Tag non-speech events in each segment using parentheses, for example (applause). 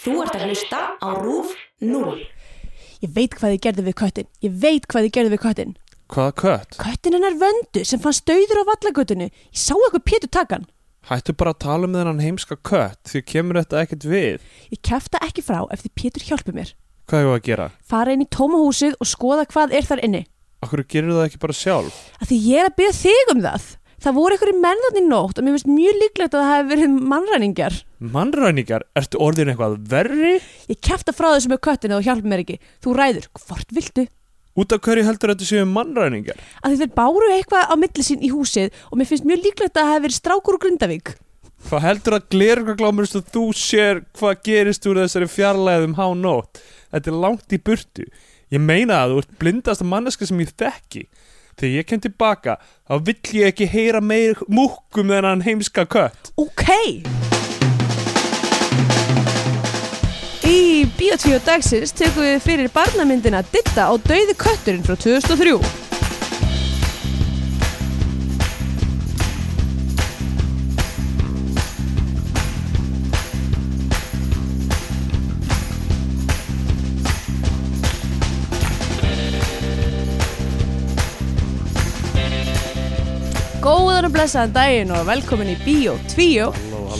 Þú ert að hlusta á RÚF 0. Ég veit hvað þið gerðu við köttin. Ég veit hvað þið gerðu við köttin. Hvaða kött? Köttin hennar vöndu sem fann stauður á vallagötunni. Ég sá eitthvað pétur takan. Hættu bara að tala um þennan heimska kött því kemur þetta ekkert við. Ég kæfta ekki frá ef þið pétur hjálpu mér. Hvað hefur að gera? Fara inn í tóma húsið og skoða hvað er þar inni. Akkur gerir það ekki bara sjálf? Af því ég er að byrja þig um það. Það voru einhverjum menn þarna í nótt og mér finnst mjög líklegt að það hefði verið mannræningar. Mannræningar, ertu orðin eitthvað verri? Ég kæfta frá þessu með köttinu og hjálpa mér ekki. Þú ræður, hvort viltu? Út af hverju heldur þetta séu mannræningar? Af því þeir báru eitthvað á milli sín í húsið og mér finnst mjög líklegt að það hefði verið strákur úr Grindavík. Hvað heldur að glerugaglámurist að þú sér hvað gerist úr þessari fjarlæðum há nótt? Þetta er langt í burtu. Ég meina að þú ert blindasta manneska sem ég þekki. Þegar ég kem tilbaka, þá vill ég ekki heyra meir múkk um þennan heimska kött. Ok! Í Bíotvíu dagsins tökum við fyrir barnamyndina Ditta á Dauði kötturinn frá 2003. Góðan og blessaðan daginn og velkomin í Bíotvíu,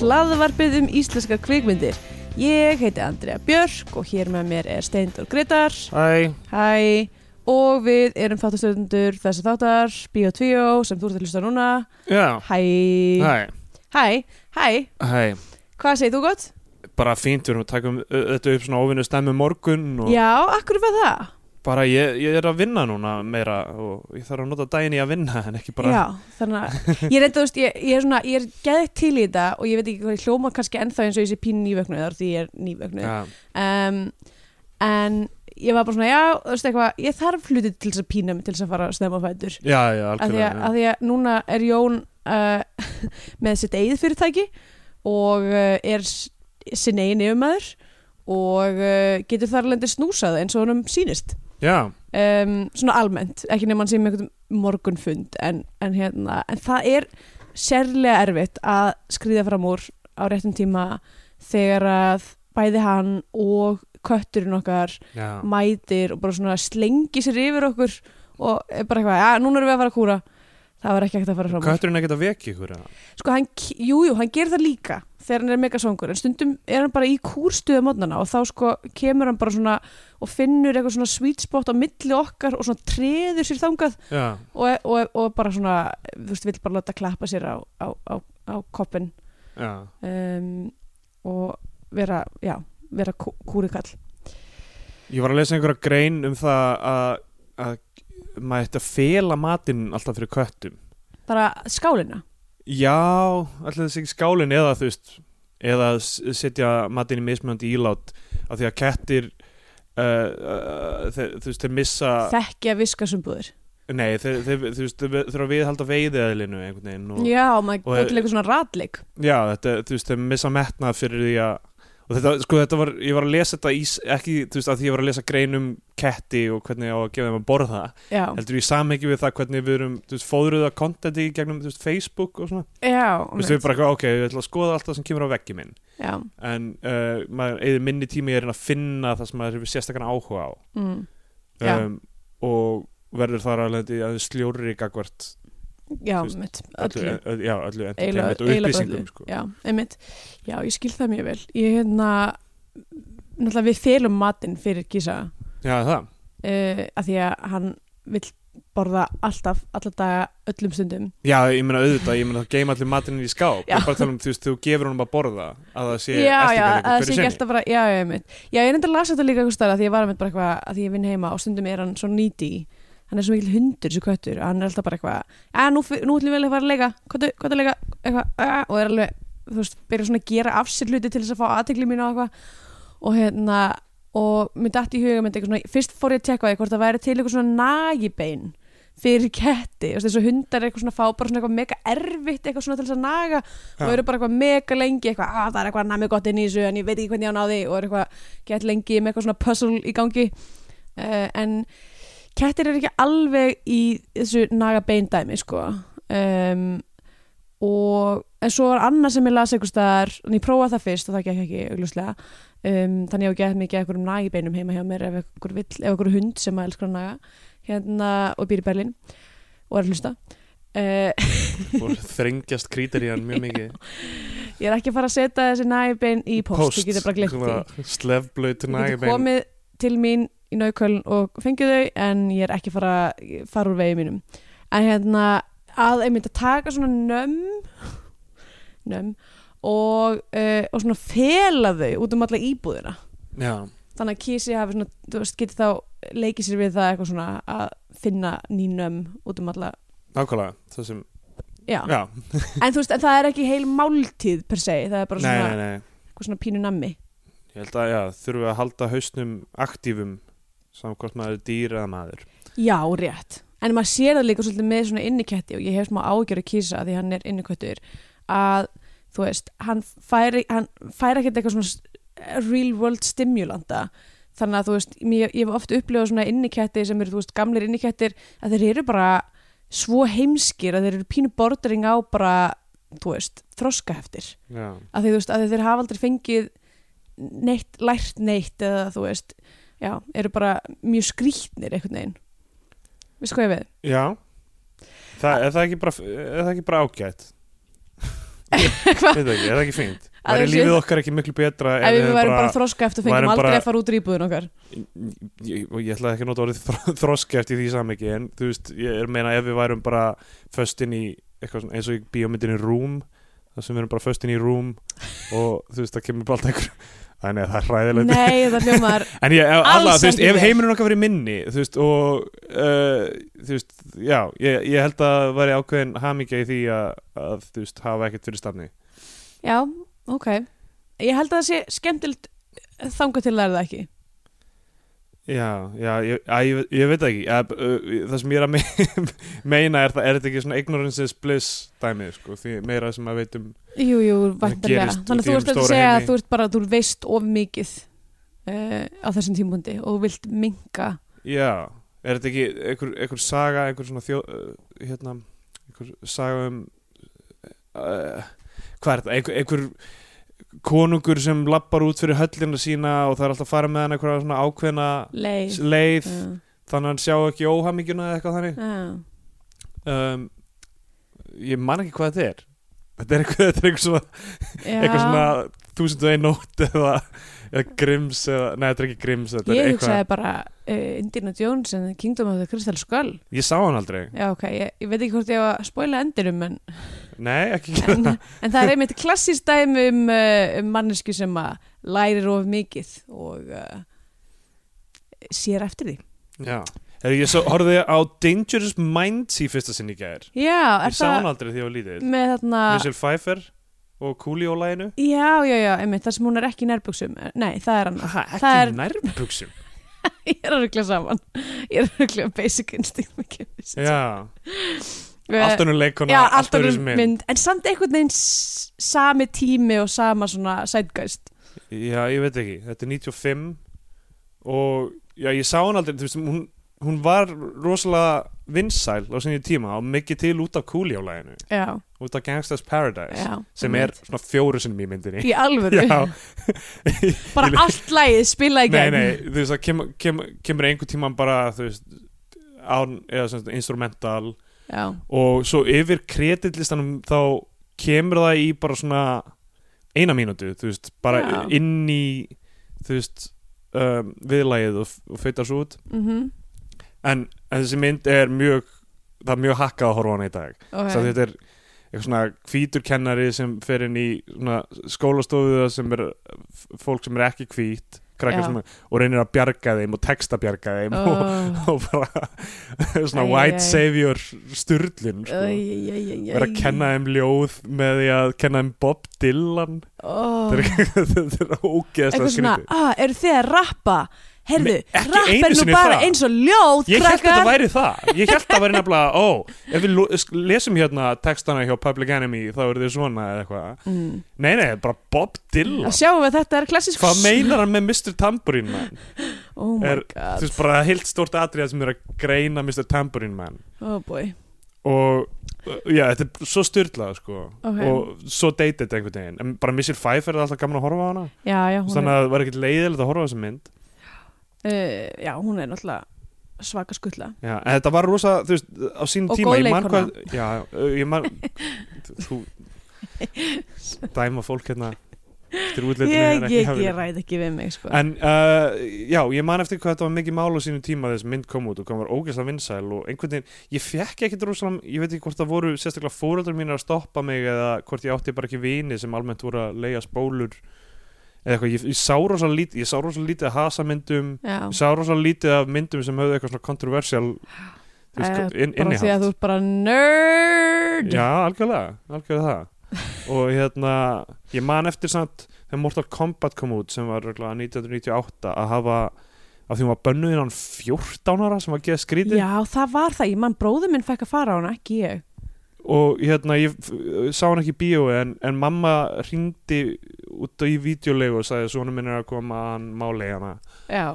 hlaðvarpið um íslenska kvikmyndir. Ég heiti Andrea Björk og hér með mér er Steindor Gretar. Æ, Hæ, og við erum þáttastöðundur þessi þáttar, Bíotvíu, sem þú ert að hlusta núna. já, Hæ, hæ, hæ, hæ, hæ. hvað segir þú gott? bara fínt, við erum að taka um, ö- þetta upp svona óvinnu stemmi morgun og Já, akkur var það? bara ég, ég er að vinna núna meira og ég þarf að nota daginn í að vinna (laughs) en ekki bara, Já, þannig að ég reynda, þú veist, ég, ég er svona, ég er geðið til í þetta og ég veit ekki hvað ég hljóma kannski ennþá eins og ég sé pínu nývöknuð þar því ég er nývöknuð. Já, Um, en ég var bara svona, já, þú veist eitthvað, ég þarf hlutið til þess að pína mig til þess að fara að snemma á fætur. já, já, Af því, algjörlega að, af því að núna er Jón uh, (laughs) með sitt eigið fyrirtæki og uh, er s- sinn eigin yfirmaður og uh, getur þar lendir snúsað eins og honum sýnist já, um, svona almennt, ekki nefn hann sé með einhvern morgunfund en, en, hérna, en það er sérlega erfitt að skrýða fram úr á réttum tíma þegar að bæði hann og kötturinn okkar já, mætir og bara svona slengi sér yfir okkur og er bara eitthvað, já, núna erum við að fara að kúra það var ekki ekkert að fara fram úr Kötturinn ekkert að veki ykkur eða? sko, hann, jú, jú, hann gerir það líka þegar hann er mega svangur, en stundum er hann bara í kúrstuða mótnana og þá sko kemur hann bara svona og finnur eitthvað svona sweet spot á milli okkar og svona treður sér þangað Já, og, og, og bara svona, þú veist, vill bara láta klappa sér á, á, á, á koppin já, um, og vera, já, vera kú, kúrikall ég var að lesa einhverja grein um það að, að maður ætti að fela matinn alltaf fyrir köttum bara skálina Já, alltaf þessi ekki skálin eða þú veist eða s- setja matinn í mismunandi ílát af því að kettir uh, uh, þe- þú veist, þeir missa þekkja viskasumbúður Nei, þeir, þeir, þú veist, þeir þurfa að viðhalda veiðiðalinu einhvern veginn og já, maður og- búið til eitthvað svona ratleik já, þetta, þú veist, þeir missa metnað fyrir því að og þetta, sko, þetta var, ég var að lesa þetta í, s- ekki, þú veist, að því ég var að lesa grein um ketti og hvernig á að gefa þeim að borða já, heldur ég samhengi við það hvernig við erum, þú veist, fóðruð að contenti í gegnum, þú veist, Facebook og svona já, þú veist, við bara, eitthvað, ok, við ætlum að skoða allt það sem kemur á veggi minn já en uh, maður eða minni tími er að finna það sem maður hefur sérstakann áhuga á mm. Já. um, og verður þar alveg að sljóri gagvart Já, Þú veist, mitt, öllu, öllu öllu, já, öllu Eiginlega- entertainment og eiginlega bara upplýsingum öllu. sko. Já, einmitt, já, ég skil það mjög vel Ég hérna Náttúrulega við felum matinn fyrir Gísa já, það, uh, að því að hann vill borða alltaf, alla daga, öllum stundum já, ég meina auðvitað ég meina það geima allir matinn í skáp Já. ég er bara að tala um, þú veist, þú gefur honum að borða að það sé Já, já, að það eftirkvæðingur sé hverju ekki sinni alltaf bara Já, já, einmitt Já, ég reyndi að lasa þetta líka eitthvað stara því ég var einmitt bara eitthvað að því ég vinn heima og stundum er hann svo nýti Hann er svo mikil hundur, svo köttur að Hann er alltaf bara eitthvað að nú, f- nú ætlum við að fara að leika Hvað er að leika? Eitthvað, "Ah," og er alveg þú veist, byrja svona að gera af sér hluti til þess að fá aðtekli mín á eitthvað og hérna, og mér dætti í huga mér eitthvað svona, fyrst fór ég að tekka á því hvort það væri til eitthvað svona nagibein fyrir ketti, þú veist, þessu hundar eitthvað svona fá bara svona eitthvað mega erfitt eitthvað svona til þess að naga og Já. eru bara eitthvað mega lengi eitthvað, að það er eitthvað nami gott inn í þessu en ég veit ekki hvernig ég á náði og eru eitthvað gett lengi með eitthvað svona puzzle í gangi uh, en kettir eru ekki alveg í þessu naga beindæmi sko um, og en svo var annað sem ég las einhvers staðar, en ég prófaði það fyrst og það gekk ekki augljóslega um, þannig ég hef gett mikið einhverjum nagibeinum heima hjá mér ef einhver, vill, ef einhver hund sem að elskar að naga hérna og býr í Berlín og er að hlusta uh, og þrengjast krítar í hann mjög mikið (laughs) ég er ekki að fara að setja þessi nagibein í post, þú getur bara glimt því slefblöytur þú getur nægibein komið til mín í nauköln og fengið þau en ég er ekki fara ég fara úr vegi mínum en hérna að einmitt að taka svona nömm (laughs) nömm og, uh, og svona fela þau út um alla íbúðina já, þannig að kísi hafi svona, þú veist, geti þá leikið sér við það eitthvað svona að finna ný nömm út um alla nákvæmlega það sem, já. já, en þú veist, en það er ekki heil máltíð per se, það er bara nei, svona, nei, nei eitthvað svona pínu nammi ég held að, já, þurfum við að halda hausnum aktífum saman hvort maður er dýr eða maður Já, rétt. En maður sér það líka svolítið með svona inniketti og ég hef smá ágjör að kýsa því hann er innikettur að þú veist, hann færi, hann færi ekkert eitthvað svona s- real world stimulanta þannig að þú veist, mér, ég hef oft upplifað svona inniketti sem eru, þú veist, gamlir innikettir að þeir eru bara svo heimskir að þeir eru pínu bordering á bara, þú veist, þroskaheftir já, að þeir, þú veist, að þeir hafa aldrei fengið neitt, lært neitt eða þú veist, já, eru bara mjög skrýtnir einhvern veginn veistu hvað ég við? já. Það, er, það ekki bara, er það ekki bara ágætt? (laughs) Hva? Veit það ekki, er það ekki fínt? (laughs) Að Væri það sé- lífið okkar ekki miklu betra Ef við værum bara þroska eftir og fengjum værum aldrei bara- að fara út úr íbúðun okkar ég, og ég ætla ekki að nota orðið þro, (laughs) þroskeft í því samhengi en þú veist, ég er að meina ef við værum bara föstin í eitthvað svona eins og í bíómyndinni Room það sem við erum bara föstin í Room og þú veist, það kemur bara alltaf einhver (laughs) Æ, nei, það er hræðilegt Nei, það hljómar (laughs) En ég, ef- Alls alla, þú veist, ekki ef vel. heimurinn okkar verið minni þú veist, og uh, þú veist, já, ég, ég held að það væri ákveðin hamingja í því að, að þú veist, hafa ekkert fyrir stafni Já, ok Ég held að það sé skemmtilt þanga til að læra það ekki Já, já, ég, að, ég, ve- ég veit það ekki að, uh, það sem ég er að me (laughs) meina er það, er þetta ekki svona ignorance is bliss dæmið, sko, því meira sem um- að veitum Jú, jú, væntanlega gerist Þannig að í þú hinum ert að stóra segja heimi. að þú ert bara þú veist of mikið uh, á þessum tímundi og þú vilt minka Já, er þetta ekki einhver, einhver saga, einhver svona þjó uh, hérna, einhver saga um uh, hvað er þetta, einhver, einhver konungur sem lappar út fyrir höllina sína og það er alltaf að fara með hann einhverja svona ákveðna leið leið, uh, þannig að hann sjá ekki óhamingjuna eða eitthvað þannig uh. um, ég man ekki hvað þetta er þetta er eitthvað, þetta er eitthvað svona, eitthvað Já. svona 1001 nót eða, eða grims eða, nei þetta er ekki grims þetta er Ég eitthvað, hugsaði bara uh, Indiana Jones and the Kingdom of the Crystal Skull ég sá hann aldrei Já, ok, ég, ég veit ekki hvort ég var að spoila endinum en, nei ekki gera (laughs) en, það en það er einmitt klassist dæmi um, uh, um mannesku sem að lærir of mikið og uh, sér eftir því já, Heru, ég svo, horfði á Dangerous Minds í fyrsta sinn í gær Já, er ég sá hann það aldrei því ég var lítið með þarna Michelle Pfeiffer og Coolio læginu Já, já, já, einmitt, þar sem hún er ekki í nærbuxum Nei, það er hann ekki Það er- nærbuxum (laughs) Ég er að ruggla saman Ég er að ruggla basic instinct með kemur já, allt önnur leikona Já, allt allt önnur önnur mynd. En samt einhvern veginn s- sami tími og sama svona sætgæst Já, ég veit ekki, þetta er 95 og já, ég sá hann aldrei, þú veist, hún, hún var rosalega vinsæl á sinni tíma og mikið til út af kúljálæginu, Já, út af Gangsta's Paradise já sem er svona fjóru sinnum í myndinni. Í alvöru, (laughs) Já, (laughs) bara Ég- allt lagið spila í nei, gegn nei, þú veist, það kem, kem, kemur einhvern tíman bara, þú veist, án, eða svona instrumental Já, og svo yfir kreditlistanum þá kemur það í bara svona eina mínútu, þú veist, bara Já. inn í, þú veist, um, viðlægið og, og feitar svo út mhm, en, en þessi mynd er mjög, það er mjög hakkað að horfa á hana í dag ok svo þetta er eitthvað svona hvítur kennari sem fer inn í svona skólastofuða sem er f- fólk sem er ekki hvít, krakkar Já. sem er, og reynir að bjarga þeim og texta bjarga þeim og, Oh. (laughs) og bara (laughs) svona Æ, æ, æ. white savior sturlun sko Æ, æ, æ, æ, æ. vera að kenna þeim ljóð með því að kenna þeim Bob Dylan oh. (laughs) Þetta er þetta er ógeðslega Eitthvað svona, skrítið ah, eru þið að rappa Herðu, Me- ekki rapp einu er nú sinni bara það. eins og ljóð Ég held að krakkar þetta væri það Ég held að það væri nefnilega, ó Ef við lo- sk- lesum hérna textana hjá Public Enemy þá eru þið svona eða eitthvað Mm. Nei, nei, bara Bob Að Dylan sjáum við að þetta er klassisk Hvað meinar hann með Mr. Tambourine Man? Oh my Er- Þú god, veist bara heilt stórt atriða sem er að greina Mr. Tambourine Man oh boy og uh, já, þetta er svo styrlað sko. Ok. og svo deytið þetta einhvern veginn en bara Missile Pfeiffer er alltaf gaman að horfa á hana já, já, hún þannig að það var ekkert leiðilegt að horfa á þessa mynd er uh, já, hún er náttúrulega svaka skulla já, en þetta var rosa, þú veist, á sínum Og tíma góð ég man leikkona. hvað- já, uh, ég man þú dæma fólk hérna eftir útlitinu ég, en ekki ég, hefðinni. ég ræð ekki við mig sko. En uh, já, ég man eftir hvað þetta var mikið mál á sínum tíma þess mynd kom út og kom var ógeðslega vinsæl og einhvern veginn, ég fekk ekkert rosalega, ég veit ekki hvort það voru sérstaklega fóröldar mínir að stoppa mig eða hvort ég átti bara ekki vini sem almennt voru að leiga spólur eða eitthvað, ég, ég sá rosalega lítið, ég sá rosalega lítið af hasamyndum, já, ég sá rosalega lítið af myndum sem höfðu eitthvað svona kontroversial þú veist, Æ, hvað- inn- Eh, bara því innihald. að þú ert bara nerd Já, algjörlega, algjörlega það og hérna, ég man eftir samt þegar Mortal Kombat kom út sem var örugglega 1998 að hafa af því hún var bönnuð innan 14 ára sem var geða skrítið Já, það var það, ég mann bróður minn fekk að fara á hana, ekki ég og hérna, ég f- sá hann ekki í bíó en, en mamma hringdi út í vídeolegu og sagði svona minn er að koma að hann máli hana Já,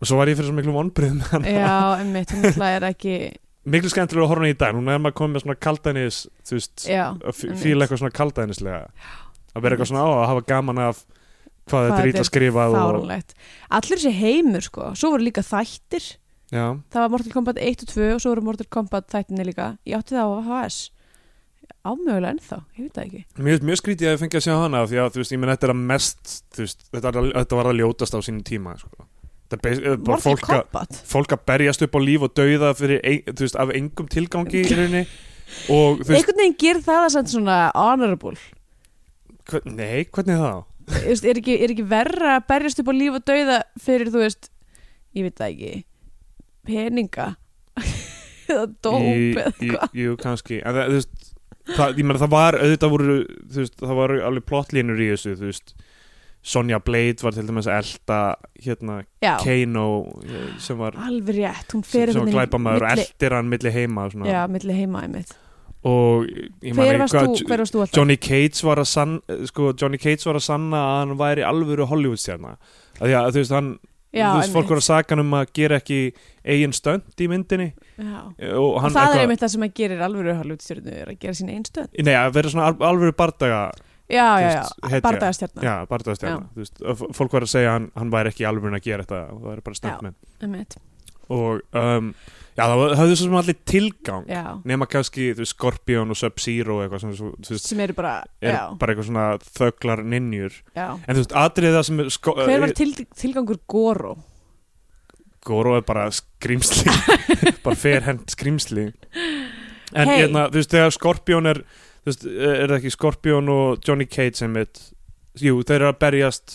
og svo var ég fyrir svo miklu vonbrið með hana já, emmitt, hún náttúrulega er ekki (laughs) miklu skemmtilega að horfa á hana í dag, núna er maður komið með svona kaldanis, þú veist Já, að fí- Einmitt. fíla eitthvað svona kaldæðnislega að vera eitthvað svona á að hafa gaman af hvað þetta Hvað er ít þetta að er skrifa og, fáránlegt Allir þessi heimur, sko, svo voru líka þættir já, Það var Mortal Kombat 1 og 2 og svo voru Mortal Kombat þættinni líka Ég átti það á HS Ámögulega ennþá, ég veit það ekki mjög, mjög skrítið að ég fengi að sjá hana því að þú veist, ég menn þetta er að mest þú veist, þetta, er að- þetta var að ljótast á sínum tíma sko. þetta er bas- eh, bara Mortal fólk að Kombat fólk að berjast upp á líf og dauða fyrir, ein, þú veist, af engum tilgangi í rauninni og þú veist, Einhvern veginn ger það að samt svona honorable hver, nei, hvernig þá? Þú veist, er, ekki, er ekki verra að berjast upp á líf og dauða fyrir, þú veist, ég veit það ekki, peninga (laughs) eða dóp Í- eða í- hvað. Jú, kannski en það, þú veist, það, ég meina það var auðvitað voru, þú veist, það var alveg plottlínur í þessu, þú veist Sonja Blade var til dæmis að elta hérna Já, Kano eh, sem var, alveg rétt, hún sem, fer sem einhvern var veginn glæpamaður og milli- eltir hann milli heima og, Já, svona. milli heima einmitt. og ég Hver meina varst hvað- þú, hver varst þú alltaf? Johnny Cates var að sann eh, sko, Johnny Cates var að sanna að hann væri alvöru Hollywoodstjarna að því að þú veist hann Já, þú veist, fólk einmitt. voru að saka hann um að gera ekki eigin stönd í myndinni Já. eh, og, Og hann það er eitthvað- einmitt það sem að gerir alvöru halvutstjörnu, er að gera sína einstöð. Nei, að vera svona al- alvöru bardaga Já, já, já, Þú veist, hetja. bardagastjörna, Já, barndagastjarna Þú veist, að f- Fólk var að segja að hann, hann væri ekki alveg að gera þetta það væri bara stöndmenn einmitt. og um, já, það var- höfðu svo sem allir tilgang Já, nema kannski þú veist, Scorpion og Sub-Zero og eitthvað sem svo, þú veist, sem eru bara, er já, bara eitthvað svona þöglar ninjur já. en þú veist, atrið það sem er sko, Hver var til, tilgangur Goro? Goro er bara (laughs) skrýmsli bara ferhend skrýmsli en Hey. hérna, þú veist, þegar Scorpion er þú veist, er það ekki Scorpion og Johnny Cage sem mitt, jú, þeir eru að berjast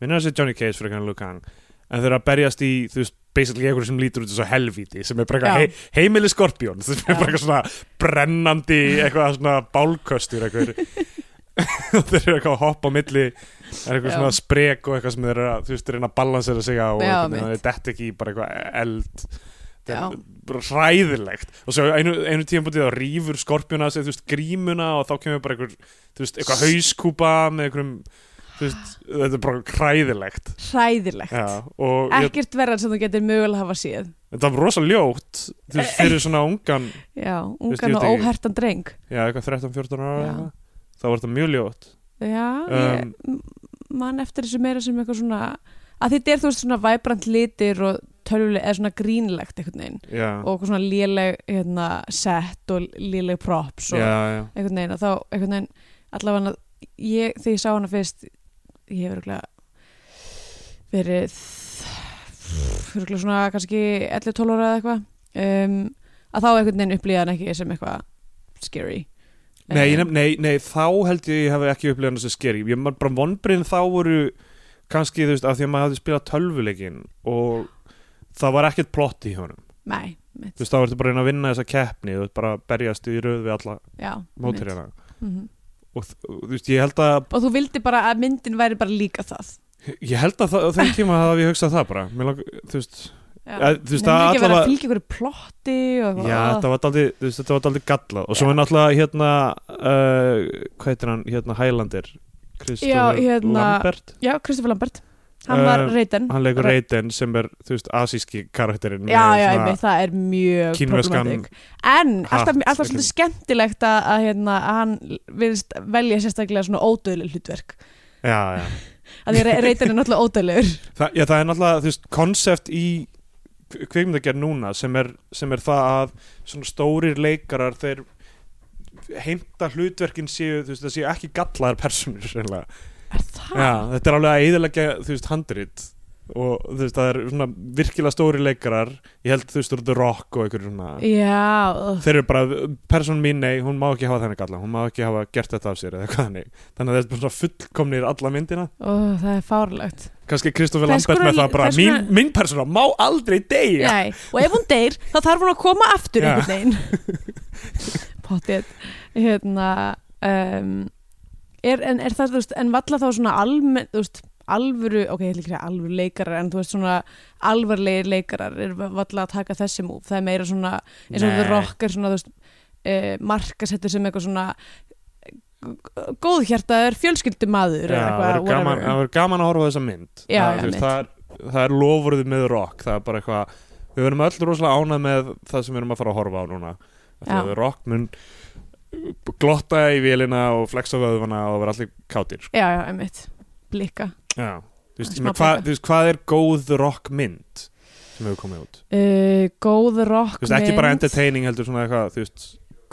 minna þessi Johnny Cage fyrir kannan Lukan, en þeir eru að berjast í þú veist, basically einhverju sem lítur út þessu helvíti sem er bara Já. eitthvað he heimili Scorpion sem er Já. bara eitthvað svona brennandi eitthvað svona bálköstur eitthvað og (laughs) þeir eru eitthvað að hoppa á milli er eitthvað Já. svona sprek og eitthvað sem þeir eru að þú veist, reyna að balansera sig á Já, og einhvern mitt. veginn að þeir dett ekki í bara eitthvað eld Já. Þetta er bara hræðilegt og svo einu, einu tíma bútið þá rýfur skorpjuna sig, þú veist, grímuna og þá kemur bara einhver, þú veist, eitthvað hauskúpa með einhverjum, þú veist þetta er bara hræðilegt Hræðilegt. Já, og ég, Ekkert verðan sem þú getur mögulega hafa séð. þetta var rosa ljótt þú (laughs) veist, fyrir svona ungan Já, veist, ungan ég og veit ekki. óhertan dreng já, eitthvað 13-14 Já. ára eitthvað. þá var þetta mjög ljótt Já, Um, ég man eftir þessu meira sem eitthvað svona að þetta er þú veist svona væbrant litir og tölvuleg, eða svona grínlegt einhvern veginn já, og eitthvað svona léleg hérna, set og léleg props og já, já, einhvern veginn og þá einhvern veginn allavega ég, þegar ég sá hana fyrst ég hef örgulega verið örgulega svona kannski 11-12 ára eða eitthvað um, að þá einhvern veginn upplýða hann ekki sem eitthvað scary Nei, ég Um, nefn, nei, nei, þá held ég ég hef ekki upplifað hann sem skeri Ég maður bara vonbriðin þá voru kannski, þú veist, af því að maður hafði spilað tölvuleikin og það var ekkert plott í honum Nei, mitt, Þú veist, þá ertu bara að reyna að vinna þessa keppni þú veist, bara að berjast í röð við alla já, mitt. mótirjana Mhm. og þ- og, þú veist, ég held að og þú vildi bara að myndin væri bara líka það ég held að það, á þeim tíma hafði ég hugsað það bara Mér lang, þú veist, Já. Eh, þú Nennir veist, það ekki að vera sko. allavega- að fylgja ykkur plotti og já, þetta var daldi, þú veist, þetta var daldi gallað og svo Já. er náttúrulega hérna uh, hvað heitir hann, hérna Highlander Já, Kristofur hérna- Lambert já Kristoffer Lambert Hann var Eh, reytan hann leikur Ra- Raiden sem er, þú veist, asíski Já, karakterinn með já, svona- einmitt, það er mjög kínverskan problematic En alltaf, hatt, alltaf eitthvað. svolítið skemmtilegt að, að, hérna, að hann virðist velja sérstaklega svona ódöðleg hlutverk já, já. að því reytan er náttúrulega ódöðlegur Þa, já, það er náttúrulega, þú veist, konsept í kvikmyndagerð núna sem er, sem er það að svona stórir leikarar þeir heimta hlutverkin séu, þú veist, það séu ekki gallaðar personur, reynilega Er það? Já, þetta er alveg að eðilegja, þú veist, handrit og þú veist, það er svona virkilega stóri leikarar, ég held þú veist, þú The Rock og einhverjum svona Já, ugh. þeir eru bara, person mín, nei, hún má ekki hafa þannig galla, hún má ekki hafa gert þetta af sér eða eitthvað þannig, þannig að það er bara svona fullkomnir alla myndina, Ó, það er fárlegt kannski Kristoffer Það er Lambert skora- með það bara, það er skora- mín, mín persóna má aldrei deyja Nei, og ef hún deyr þá þarf hún að koma aftur Já. einhvern veginn (laughs) Pottið hérna, um, er, en, er það, þú veist, en valla þá svona almen, þú veist, alvöru ok, ég ætla ekki að segja alvöru leikarar en þú veist svona alvarlegir leikarar er valla að taka þessi múf, það er meira svona eins og Nei. það rock er svona þú veist, uh, markasettur sem eitthvað svona góðhjartaður fjölskyldumadur Já, eða það verður gaman, whatever. það verður gaman að horfa á þessa mynd Já, það, já, þú veist, mitt. það, er, það er lofurðið með rock það er bara eitthvað, við verðum öll rosalega ánað með það sem við erum að fara að horfa á núna Já. þegar rock mun glotta í vélina og flexa vöðvana og vera allir kátir sko. já, já, einmitt, blika já, þú veist, Smá með, hva, poka. þú veist, hvað er góð rock mynd sem hefur komið út uh, góð rock þú veist, ekki bara mynd. entertaining heldur svona eitthvað þú veist,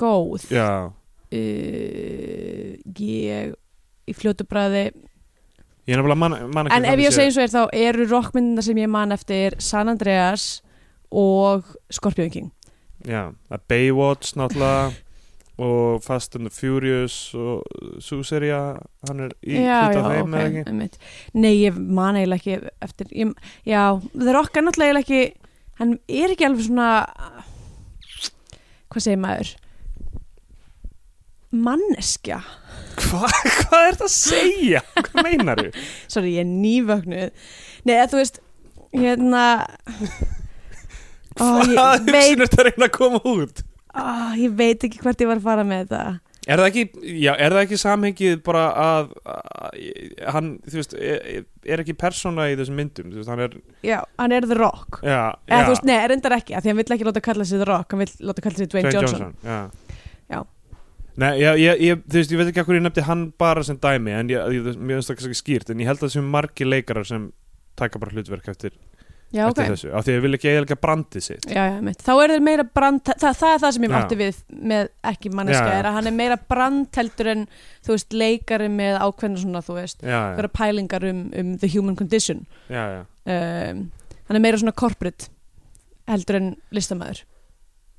góð já, uh, ég í fljótu bræði ég er nefnilega mann man ekki en ef þannig ég séð. segi eins og er þá eru rockmyndina sem ég man eftir San Andreas og Scorpion King Já, það er Baywatch náttúrulega og Fast and the Furious og Súserja, hann er í hluta þeim eða ekki einmitt. nei, ég man eiginlega ekki eftir ég, já, þeir okkar náttúrulega eiginlega ekki hann er ekki alveg svona hvað segir maður manneskja Hva, Hvað er það að segja? Hvað meinar þú? sorry, ég er nývögnuð nei, eða þú veist hérna (laughs) Ó, ég Hvað veit- hugsun er að reyna að koma út? Oh, ég veit ekki hvert ég var að fara með þetta. Er það ekki, já, er það ekki samhengið bara að, að hann, þú veist, er, er ekki persóna í þessum myndum, þú veist, hann er Já, hann er The Rock. Já, Eða já, þú veist, nei, er endar ekki, af því hann vill ekki láta kalla sig The Rock, hann vill láta kalla sig Dwayne, Johnson. já. Já. Nei, ég, ég, ég, þú veist, ég veit ekki hvað ég nefndi hann bara sem dæmi en ég, ég, mér finnst það kannski skýrt en ég held að það séu margi leikarar sem taka bara hlutverk eftir, Já, ok. eftir þessu af því að ég vil ekki eðalega brandi sitt Já, já, mitt. Þá er þeir meira brand, það, það er það sem ég Já. átti við með ekki manneskja, Já. er að hann er meira brandheldur en, þú veist, leikari með ákveðna svona, þú veist, Já, já, vera pælingar um, um the human condition. já, já. Um, hann er meira svona corporate heldur en listamæður.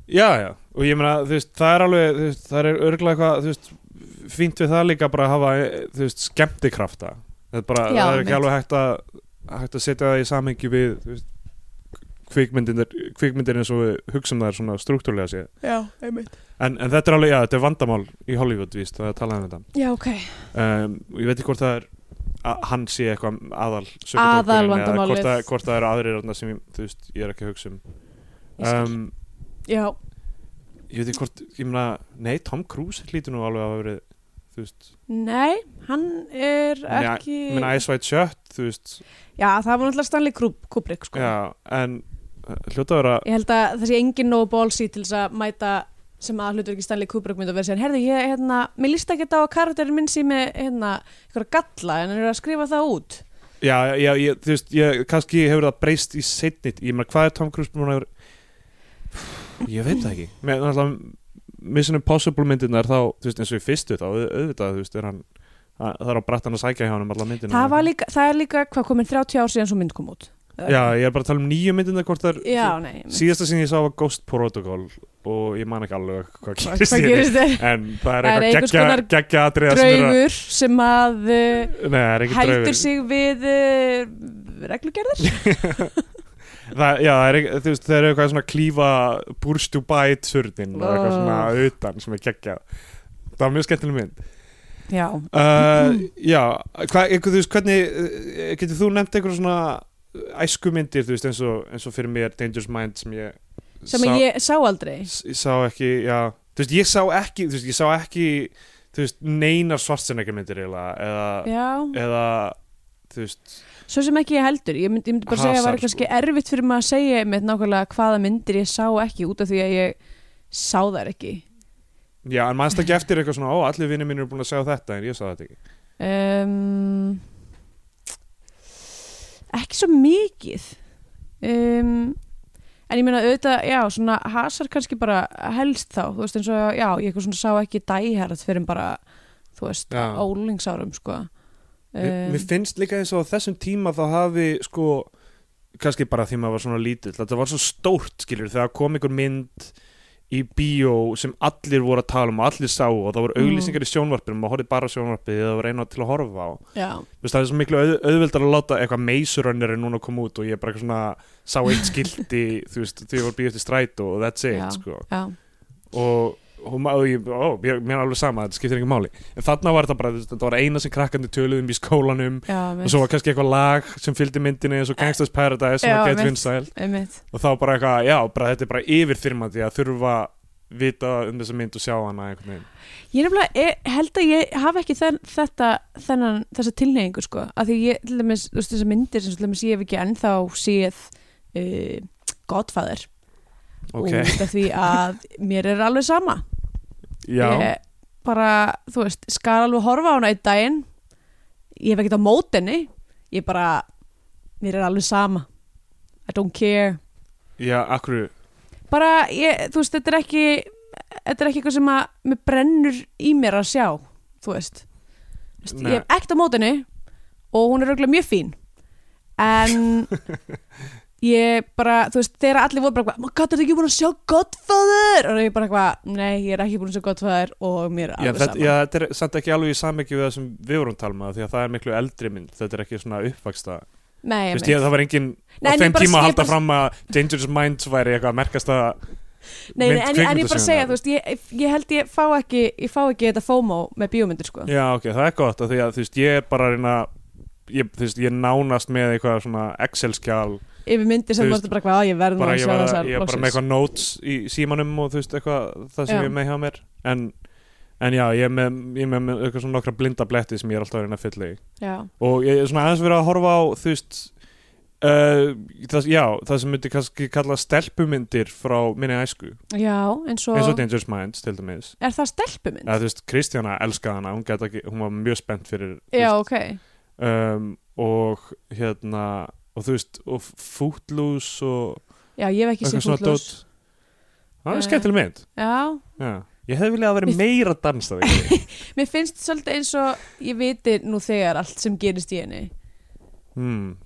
já, já. og ég meina, þú veist, það er alveg þú veist, það er örgulega eitthvað, þú veist fínt við það líka bara að hafa, eh, þú veist, skemmtikrafta það er bara, Já, það er ekki mitt. alveg hægt að hægt að setja það í samhengi við þú veist, kvikmyndir, kvikmyndir eins og við hugsum það er svona struktúrlega séð Já, einmitt. En, en þetta er alveg, já, þetta er vandamál í Hollywood, víst, það er að tala um þetta. Já, ok. Um, og ég veit ekki hvort það er, að, hann sé eitthvað aðal sökudólkurinn Aðalvandamálið. Eða hvort það, hvort það eru aðrir þarna sem, ég- þú veist, ég er ekki að hugsa um. Ég skil. Um, Já, ég veit ekki hvort, ég meina, nei, Tom Cruise hlýtur nú alveg að hafa verið, þú veist, nei, hann er Nei, ekki... ég meina Ice White Shut, þú veist, Já, það var náttúrulega Stanley Krub- Kubrick sko. já, en uh, hljóta að vera, Ég held að það sé engin nógu bólsi til þess að mæta sem að hlutverki Stanley Kubrick myndi að vera sér Herði, ég, hérna, mér líst ekki þetta á að karakterin minn sem er, hérna, ykkur galla en hann er að skrifa það út já, já, ég, þú veist, ég, kannski hefur það breyst í seinnit, ég meina, hvað er Tom Cruise búin að vera, (sighs) ég veit það ekki, með náttúrulega, Mission Impossible myndirnar þá, þú veist, eins og í fyrstu þá, au- auðvitað, þú veist, er hann að- það er á brattan að sækja hjá hann um alla myndina það, var líka, það er líka, hvað komin 30 ár síðan svo mynd kom út Já, ég er bara að tala um nýju myndirnar hvort það Já, er nei mitt. síðasta sem ég sá var Ghost Protocol og ég man ekki alveg hvað Hvað- gerist í Hvað henni. gerist þér? en það Það er er eitthvað einhvers geggja, konar geggja atriða sem eru að- Draugur sem að uh, Nei, það er ekki draugur hættur sig við uh, reglugerðir (laughs) það, Já, það er ekki, þú veist, það er eitthvað svona klífa Burstu bæ turninn og eitthvað svona Oh. utan sem er geggjað Það var mjög skemmtileg mynd Já, Uh, já, hva, einhver, þú veist, hvernig eh, getur þú nefnt einhverja svona æskumyndir, þú veist, eins og, eins og fyrir mér Dangerous Mind sem ég sem sá, ég sá aldrei s- sá ekki, já þú veist, ég sá ekki, þú veist, ég sá ekki þú veist, neinar svartsenekjarmyndir eiginlega, eða, Já, eða þú veist, Svo sem ekki ég heldur, ég myndi, ég myndi bara segja að það var Hasar, kannski erfitt fyrir maður að segja með nákvæmlega hvaða myndir ég sá ekki út af því að ég sá þær ekki Já, en mannst ekki eftir eitthvað svona, ó, allir vinnir mínir eru búin að segja þetta en ég sagði þetta ekki. um, Ekki svo mikið um, En ég meina auðvitað, já, svona hasar kannski bara helst þá, þú veist eins og já, ég eitthvað svona sá ekki dæherrat fyrir en bara, þú veist, Já. ólingsárum sko Um. um, Mér finnst líka eins og á þessum tíma þá hafi, sko, kannski bara því maður var svona lítill, þetta var svo stórt, skilur, þegar kom einhver mynd í bíó sem allir voru að tala um og allir sáu og það voru Mm. auglýsingar í sjónvarpinu, maður horfði bara á sjónvarpið eða það var eina til að horfa á. Já, Þú veist, það er svo miklu auð, auðveldar að láta eitthvað meisurönnir en núna að koma út og ég bara eitthvað svona sá eitt skildi, (laughs) þú veist, því ég var býðast í strætó og that's it, Já. sko já, og, og, ma- og ég, ó, ég, mér er alveg sama, þetta skiptir ekki máli en þarna var þetta bara, þú veist, þetta var eina sem krakkandi töluðum í skólanum já og svo var kannski eitthvað lag sem fylgdi myndinni eins og Gangsta's Paradise sem Eh, Já, var gett einmitt. vinsæl einmitt og þá bara eitthvað, já, bara, þetta er bara yfirþyrmandi að þurfa vita um þessa mynd og sjá hana einhvern veginn Ég nefnilega ég, held að ég hafi ekki þen, þetta, þennan, þessa tilneyingu sko, af því ég, til dæmis, þú veist, þessar myndir sem til dæmis ég hef ekki ennþá séð uh, Godfather ok, út af því að mér er alveg sama já, ég bara, þú veist, skal alveg horfa á hana einn daginn ég hef ekkert á mót henni ég bara, mér er alveg sama I don't care já, akkur bara, ég, þú veist, þetta er ekki þetta er ekki eitthvað sem að mér brennur í mér að sjá, þú veist Þú veist, Nei. ég hef ekkert á mótinu og hún er auðvitað mjög fín (laughs) en ég bara, þú veist, þegar allir voru bara eitthvað, "Oh maður gæti ekki búin að sjá Godfather og ég bara eitthvað, nei, ég er ekki búin að sjá Godfather og mér er Já, alveg þetta, saman já, þetta er samt ekki alveg í samekju við það sem við vorum talma því að það er miklu eldri mynd, þetta er ekki svona uppvaksta nei, Þú ég veist, ég, það var engin Nei, en á ég þeim bara- tíma að ég halda bara- fram að Dangerous Minds væri eitthvað að merkast að nei, nei, mynd en, en ég bara segja, kvikmyndasögunar. þú veist, ég, ég held ég fá ekki ég fá ekki þetta FOMO með bíómyndir, sko Já, ok, það er gott af því að þú veist, ég er bara að reyna ég, þú veist, ég er nánast með eitthvað svona Excel-skjál, yfir myndir sem Þú þú veist, veist bara eitthvað, "Á, ég verð nú bara að ég sjá var þessar að- ég er bara með loksins." eitthvað notes í símanum og þú veist, eitthvað það sem Já. ég er með hjá mér en, en já, ég er með, ég er með- með eitthvað svona nokkra blinda bletti sem ég er alltaf að reyna að fylla í Já. og ég er svona aðeins verið að horfa á þú veist uh, það, já, það sem myndi kannski kalla stelpumyndir frá minni æsku Já, eins og, eins og Dangerous Minds til dæmis er það stelpumynd? að þú veist, Kristjana elskaði hana hún, gat ekki, hún var mjög spennt fyrir þú Já, veist, ok. um, og hérna og þú veist, og Footloose og Já, ég hef ekki séð eitthvað svona fútlós. dót það Eh. er skemmtileg mynd Já, já. ég hefði viljað að (laughs) vera Mér- meira dansað í því. mér finnst svolítið eins og ég viti nú þegar allt sem gerist í henni. hmm.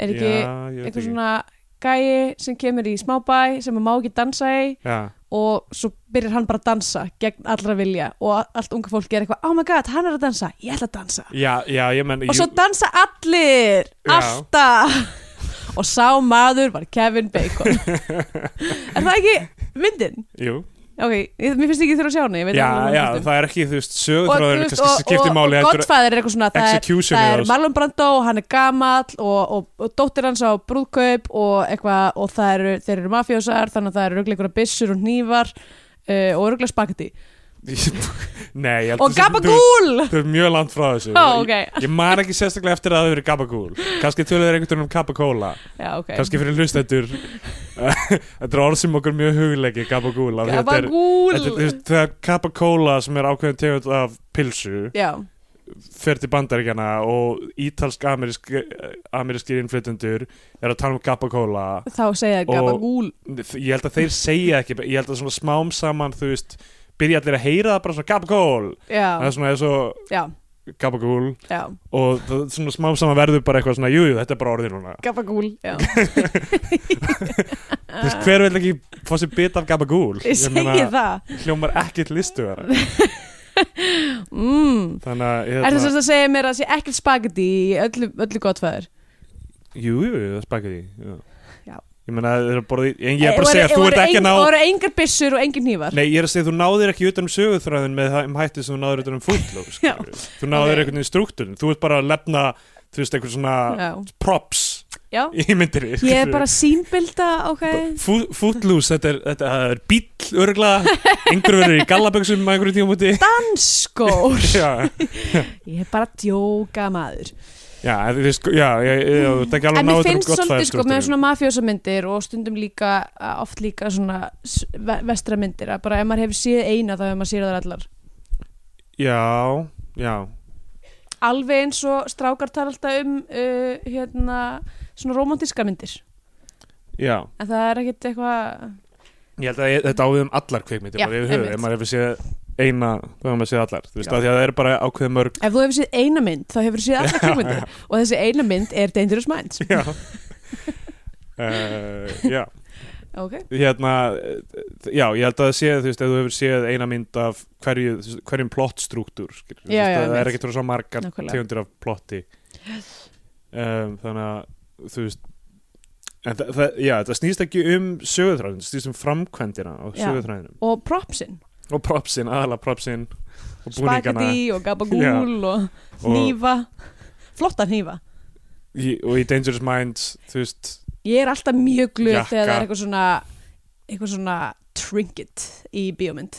Er ekki já, ég veit eitthvað ekki. svona gæi sem kemur í smábæ sem að má ekki dansa í já, og svo byrjar hann bara að dansa gegn allra vilja og a- allt unga fólk gerir eitthvað, oh my god, hann er að dansa, ég ætla að dansa. já, já, ég menn Og svo dansa allir, Já. alltaf. (laughs) og sá maður var Kevin (laughs) Bacon. er það ekki myndin? jú Ok, ég, mér finnst ekki þurfa að sjá hana, ég veit já, ekki hvað já, hún er um. það er ekki, þú veist, þú sögutráðurinn veist, kannski skiptir máli og, og heldur- Godfather er eitthvað svona það er, executionið það á er þessu. Marlon Brando og hann er gamall og, og, og dóttir hans á brúðkaup og eitthvað og það eru, þeir eru mafjósar þannig að það eru örugglega einhverja byssur og hnífar uh, og örugglega spagetti (laughs) Nei, ég held og að þú- gabagúl Þú er mjög langt frá þessu Ó, ok. Ég man ekki sérstaklega eftir að það hefur gabagúl Kannski töluður einhvern veginn um kabakóla já, ok Kannski fyrir hlustendur (laughs) Þetta er orð sem okkur mjög hugleiki Gabagúl af því þetta er- gabagúl þetta er- þú veist, Þegar kabakóla sem er ákveðin tegund af pilsu já, fer til bandaríkjana og ítalsk-amerískir innflytendur er að tala um gabakóla þá segja þeir Og- gabagúl ég held að þeir segja ekki ég held að svona smám saman þú veist byrja allir að heyra það bara svona gabagól það já, er svona eins og já, gabagól já, og það, svona smám saman verður bara eitthvað svona jújú, jú, þetta er bara orðið núna gabagúl (laughs) já. þú veist, hver vil ekki fá sér bit af gabagól ég segi það hljómar ekkit listu mm. þannig er að það hérna, sem að segja mér að það sé ekkert spagetti í öllu, öllu gottfæður jú, jú, það spakir því Já. Eh, ég meina, þeir eru að borða í en ég er bara að segja, þú ert ekki að ná Það voru engar byssur og engin hnífar Nei, ég er að segja, þú náðir ekki utan um sögutræðin með það um hætti sem þú náðir utan um fútló þú ok. náðir einhvern veginn struktúrin þú ert bara að lefna, þú veist, einhver svona Já, props já í myndinni Ég er bara sínbilda, ok Fú, Footloose, þetta er, þetta er bíll örgla, einhver verður í gallaböksum (laughs) á einhverju tíum úti Danskór Já, Ég er bara að djóka maður já, en þið sko, já, ég, ég, ég, þetta er ekki en alveg mér náður finnst svolítið sko með svona mafjósamyndir og stundum líka uh, oft líka svona s- ve- vestramyndir að bara ef maður hefur séð eina þá hefur maður séð þar allar Já, já, alveg eins og strákar tala alltaf um uh, hérna svona romantíska myndir já en það er ekkit eitthvað Ég held að ég, þetta ávið um allar kvikmyndir Já, bara yfir höfuð, einmitt. ef maður hefur séð eina þá hefur maður séð allar, þú veist, Já. af því að það er bara ákveð (laughs) mörg ef þú hefur séð eina mynd þá hefur séð allar (laughs) kvikmyndir og þessi eina mynd er Dangerous Minds Já (laughs) uh, Já, ok, hérna eh, já, ég held að það sé, þú veist, ef þú hefur séð eina mynd af hverju, þú veist, hverjum plottstrúktúr skilur, þú Já, veist, já, það er einmitt. ekkert svo margar Nákvæmlega. tegundir af plotti um, þannig að þú veist en það, það, já, það snýst ekki um sögutræðin, það snýst um framkvæmdina á Já. sögutræðinum og propsin og propsin, aðalega propsin og búningana spagetti og gabagúl og Og- nýfa flotta nýfa í, og í Dangerous Minds þú veist, Ég er alltaf mjög glöð Jakka. þegar það er eitthvað svona eitthvað svona trinket í bíómynd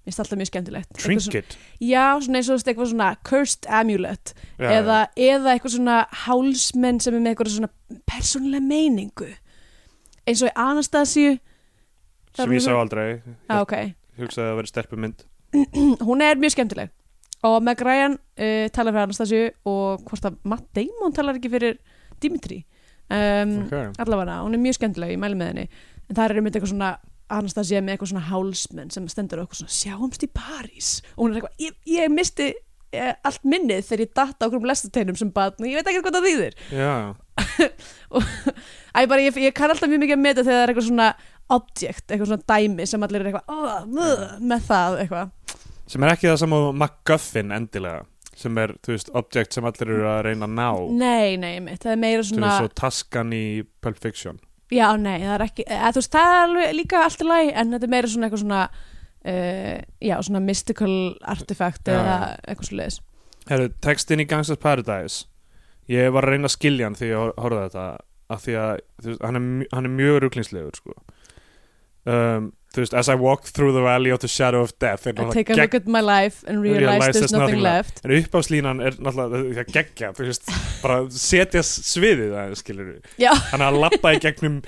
Mér finnst alltaf mjög skemmtilegt Eitthvað Svona, trinket já, svona eins og þú veist, eitthvað svona cursed amulet Já, eða, eða eitthvað svona hálsmenn sem er með eitthvað svona persónulega meiningu eins og í Anastasíu það sem er ég sá hún- aldrei ah, Ég okay. hugsaði að það veri stelpumynd (clears throat) Hún er mjög skemmtileg og Meg Ryan uh, talar fyrir Anastasíu og hvort að Matt Damon talar ekki fyrir Dimitri um, okay. allavega, hún er mjög skemmtileg, ég mæli með henni en það er einmitt eitthvað svona Anastasia með eitthvað svona hálsmenn sem stendur og eitthvað svona sjáumst í París og hún er eitthvað, ég, ég misti eh, allt minnið þegar ég datta okkur um lestuteinum sem batn og ég veit ekki hvað það þýðir já, Æ, bara, ég, ég kann alltaf mjög mikið að meta þegar það er eitthvað svona object, eitthvað svona dæmi sem allir er eitthvað, oh, mjög, með það eitthvað, sem er ekki það saman og MacGuffin endilega sem er, þú veist, object sem allir eru að reyna að ná nei, nei, mitt það er meira sem svona, er svo taskan í Pulp Fiction já, nei það er ekki, eða, þú veist, það er alveg líka allt í lagi, en þetta er meira svona eitthvað svona uh, já, svona mystical artifact Já, eða já. eitthvað svo Herru, textin í Gangsters Paradise ég var að reyna að skilja hann því ég hor- horfði á þetta af því að, þú veist, hann er, mj- hann er mjög ruglingslegur, sko um, þú veist, as I walk through the valley of the shadow of death er I take a gegn- look at my life and realize, there's, nothing, left. En uppáfslínan er náttúrulega það geggja, þú veist, bara setja sviðið það, skilur við. Já. Þannig að lappa í gegnum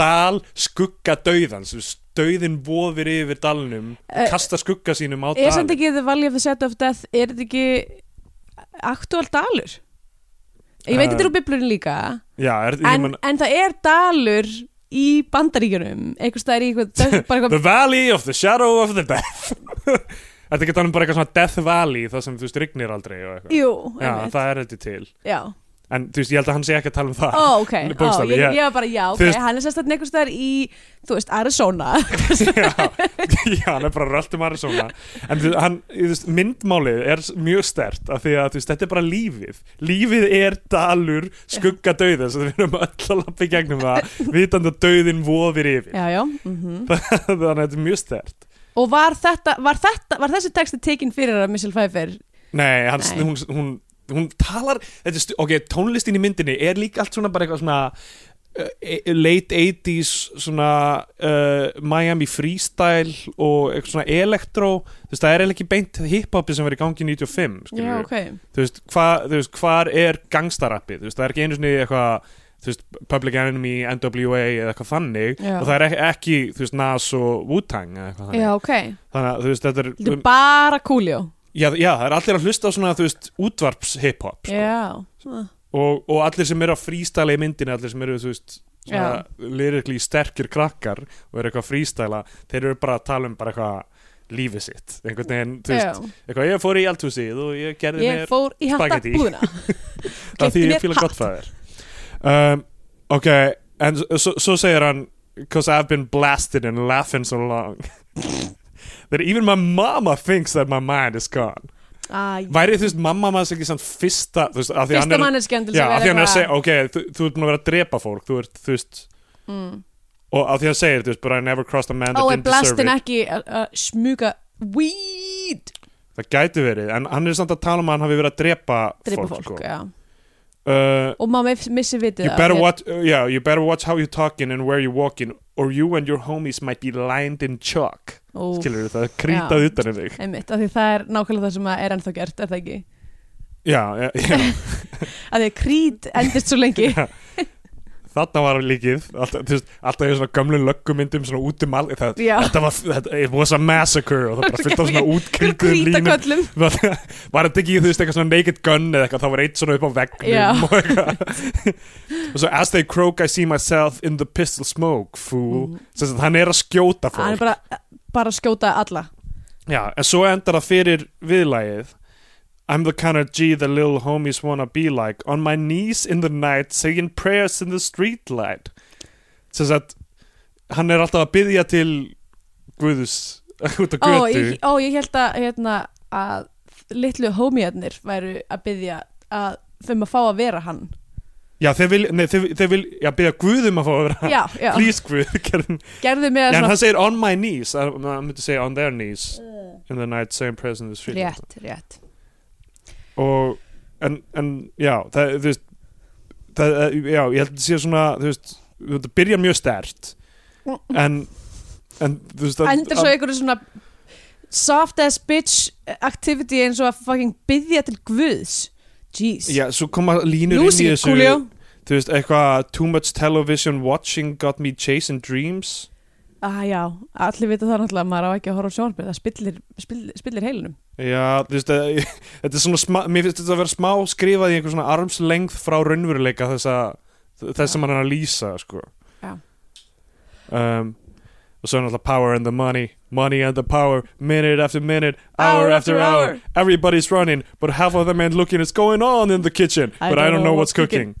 dal skugga dauðans, þú veist, dauðin vofir yfir dalnum, Eh, kasta skugga sínum á Er samt dalin. ekki The Valley of the Shadow of Death, er þetta ekki aktúal dalur? Ég veit Eh, þetta er úr biblunum líka, Já, er, en, en, man, en það er dalur í bandaríkjunum, einhvers það er í eitthvað, (laughs) bara The eitthvað, Valley of the Shadow of the Death. (laughs) Þetta getur hann bara eitthvað svona Death Valley, það sem þú veist, rignir aldrei og eitthvað. jú, Já, einmitt, það er þetta til. já, En þú veist, ég held að hann sé ekki að tala um það. ó, ok, ó, Bókstaflega, ég, ég- ég var bara, já, ok, Þú veist- hann er sérstætt einhvers það er í, þú veist, (laughs) Arizona, já, (laughs) já, hann er bara röltum Arizona en þú- hann, þú veist, myndmálið er s- mjög stert af því að þú veist, þetta er bara lífið lífið er dalur skugga dauða svo við erum öll að lappa í gegnum það vitandi að dauðin vofir yfir já, já, mhm. (laughs) þannig að þetta er mjög stert Og var þetta, var þetta, var þessi texti tekinn fyrir að Michelle Pfeiffer, nei, hans, Nei. Hún, hún, hún talar þetta, er stu- ok, tónlistin í myndinni er líka allt svona bara eitthvað svona uh, e- late 80s svona uh, Miami freestyle og eitthvað svona elektro þú veist, það er eiginlega ekki beint hiphopi sem var í gangi í 95 skilur já, ok, þú veist, hva, þú veist, hvar er gangstarappið, þú veist, það er ekki einu sinni eitthvað, þú veist, Public Enemy, NWA eða eitthvað þannig Já. og það er ekki, ekki, þú veist, Nas og Wu-Tang eða eitthvað þannig, já, ok. þannig að þú veist, þetta Þetta er, er bara kúljó já, já, það er allir að hlusta á svona, þú veist, útvarps hip-hop sko. Já og, og allir sem eru að freestyla í myndinni, allir sem eru, þú veist, svona lyrikli sterkir krakkar og eru eitthvað að freestyla, þeir eru bara að tala um bara eitthvað lífið sitt, einhvern veginn, þú veist, Já. eitthvað, ég fór í eldhúsið og ég gerði Ég mér fór í handa spagetti. (laughs) búðuna að því Keypti ég mér fíla hatt. gott það er um, ok, en s- svo so segir hann because I've been blasted and laughing so long (laughs) that even my mama thinks that my mind is gone Æ, væri þú veist mamma maður ekki sann fyrsta þú veist, af því hann Fyrsta er manneskjan til já, af að því hann er vera að segja, eitthvað ok, þú, þú ert búin að vera að drepa fólk þú ert, þú veist Mm. Oh, og af því hann segir, þú veist, but I never crossed a man that Ó, er didn't deserve blastin it ekki að að smuga Weed það gæti verið, en hann er samt að tala um að hann hafi verið að drepa, Dreipa fólk, fólk, sko. já Uh, Og mamma missi vitið You af better mér. watch, uh, yeah, you better watch how you talking and where you walking or you and your homies might be lined in chalk Ó, Skilur þú það, krýtað utan um þig Einmitt, af því það er nákvæmlega það sem að er ennþá gert, er það ekki? já, já, já. (laughs) að því að krít endist svo lengi þarna var líkið alltaf, þú veist, alltaf í svona gömlu löggumyndum svona út um all það, (laughs) Já. þetta var, þetta, it was a massacre og það bara fyllt á svona útkringuðum kríta línum köllum var var þetta ekki, þú veist, eitthvað svona naked gun eða eitthvað, þá var eitt svona upp á Já. vegnum og eitthvað og svo as they croak I see myself in the pistol smoke fool, mm. sem sagt, hann er að skjóta hann fólk er bara, bara að skjóta alla Já, en svo endar það fyrir viðlægið I'm the kind of G the little homies wanna be like On my knees in the night Saying prayers in the streetlight Sem sagt Hann er alltaf að byðja til Guðus (laughs) út á ó, götu ég, ó, ég held að, hérna, að litlu homiðarnir væru að byggja að þeim að fá að vera hann Já, þeir vil, nei, þeir, þeir vil Já, byðja Guðum að fá að vera hann. já, já, (laughs) Please Guð gerðum- gerðu mig Já, að en svona hann segir on my knees Hann hann myndi segja on their knees In the night saying prayers in the streetlight rétt, rétt og en, en já, það, þú veist það, já, ég held að sé svona þú veist, þú veist, það byrja mjög stert en, en þú veist að- endur svo að- einhverju svona soft ass bitch activity eins og að fucking byggja til guðs jeez já, svo koma línur nú inn í sé ég þessu kúljó þú veist, eitthvað too much television watching got me chasing dreams ah, já, allir vita það náttúrulega að maður á ekki að horfa á sjónarbyrð það spillir, spillir, spillir heilinum já, þú veist að, (laughs) þetta er svona smá, mér finnst þetta að vera smá skrifað í einhver svona armslengð frá raunveruleika þess að þess sem hann er að lýsa sko. Já. um, og svo er náttúrulega power and the money money and the power, minute after minute hour, after hour. everybody's running but half of them ain't looking what's going on in the kitchen I but I don't know what's cooking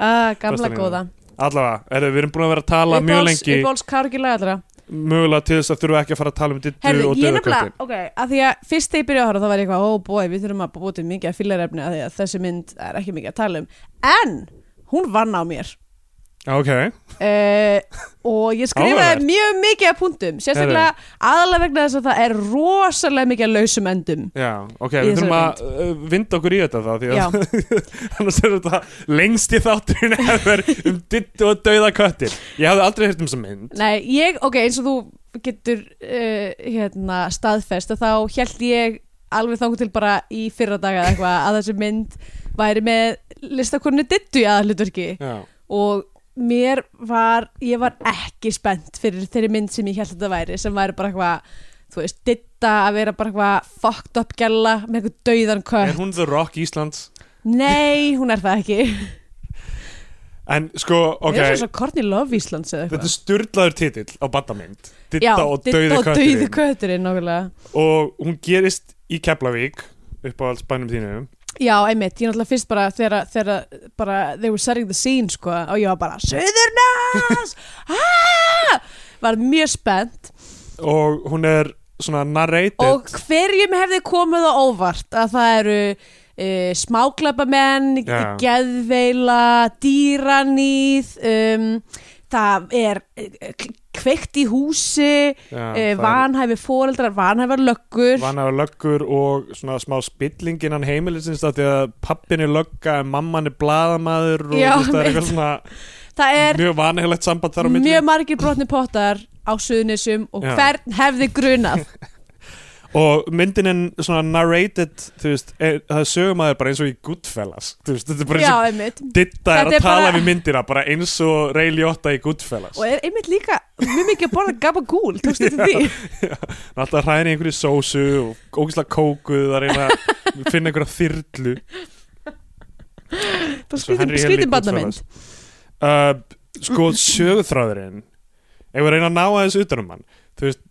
ah, Besta gamla línan. góða allavega, er, við erum búin að vera að tala mjög Uppáhalds- lengi uppáhalds kárgilega allra mögulega til þess að þurfa ekki að fara að tala um dittu Herðu, og ég döðaköttin nefnilega, ok, að því að fyrst þegar ég byrjaði að horfa þá var ég eitthvað, ó oh bói, við þurfum að búa til mikið að fyllarefni að því að þessi mynd er ekki mikið að tala um en hún vann á mér ok, uh, og ég Áhugavert. skrifaði mjög mikið að punktum, sérstaklega aðalega vegna þess að það er rosalega mikið að lausum endum já, ok Í við þessari þurfum að uh, vinda okkur í þetta þá því Já. að (laughs) annars er þetta lengst í þátturinn efer um dittu og döðaköttin ég hafði aldrei heyrt um þessa mynd Nei, ég, ok, eins og þú getur uh, hérna, staðfest að þá held ég alveg þangu til bara í fyrra daga eða eitthvað að þessi mynd væri með listakonu dittu í aðalutverki já, og mér var, ég var ekki spennt fyrir þeirri mynd sem ég held að þetta væri sem væri bara eitthvað, þú veist, ditta að vera bara eitthvað fucked up gælla með eitthvað dauðan er kött hún The Rock Íslands? Nei, hún er það ekki En sko, ok, Mér er svo Courtney Love Íslands eða þetta er eitthvað styrlaður titill á badamynd Já, Ditta og Didda Dauði og dauði Kötturinn kötturinn nákvæmlega Og hún gerist í Keflavík upp á alls bænum þínu Já, einmitt, ég náttúrulega fyrst bara þegar, þegar bara, they were setting the scene sko, og ég var bara, (laughs) Suðurnas ah! var mjög spennt Og hún er svona narrated og hverjum hefði komið á óvart að það eru uh, smáklapamenn Já. geðveila, dýranýð um, það er uh, kveikt í húsi Já, uh, vanhæfi foreldrar, vanhæfar löggur Vanaður löggur og svona smá spilling innan heimilisins af Því að pappin er lögga en mamman er blaðamaður Og Já, þú veist, það er mitt. eitthvað svona það er mjög vanhegilegt samband þar á milli mjög margir brotni pottar á suðunisum og Já. hvern hefði grunað Og myndin er svona narrated, þú veist, er, það er sögumæður bara eins og í Goodfellas Þú veist, þetta er bara eins já, og einmitt Ditta er Þetta að er tala bara- við myndina bara eins og Ray Liotta í Goodfellas og er einmitt líka mjög mikið að borða gabagúl tókstu til því Hann er alltaf að hræna í einhverju sósu og ógislega kókuð að reyna að (laughs) finna einhverja þyrlu það Svo skrítið Henry Hill í skríti Goodfellas. barnamynd uh, Sko sögurþráðurinn ef við reyna að ná aðeins utanum hann þú veist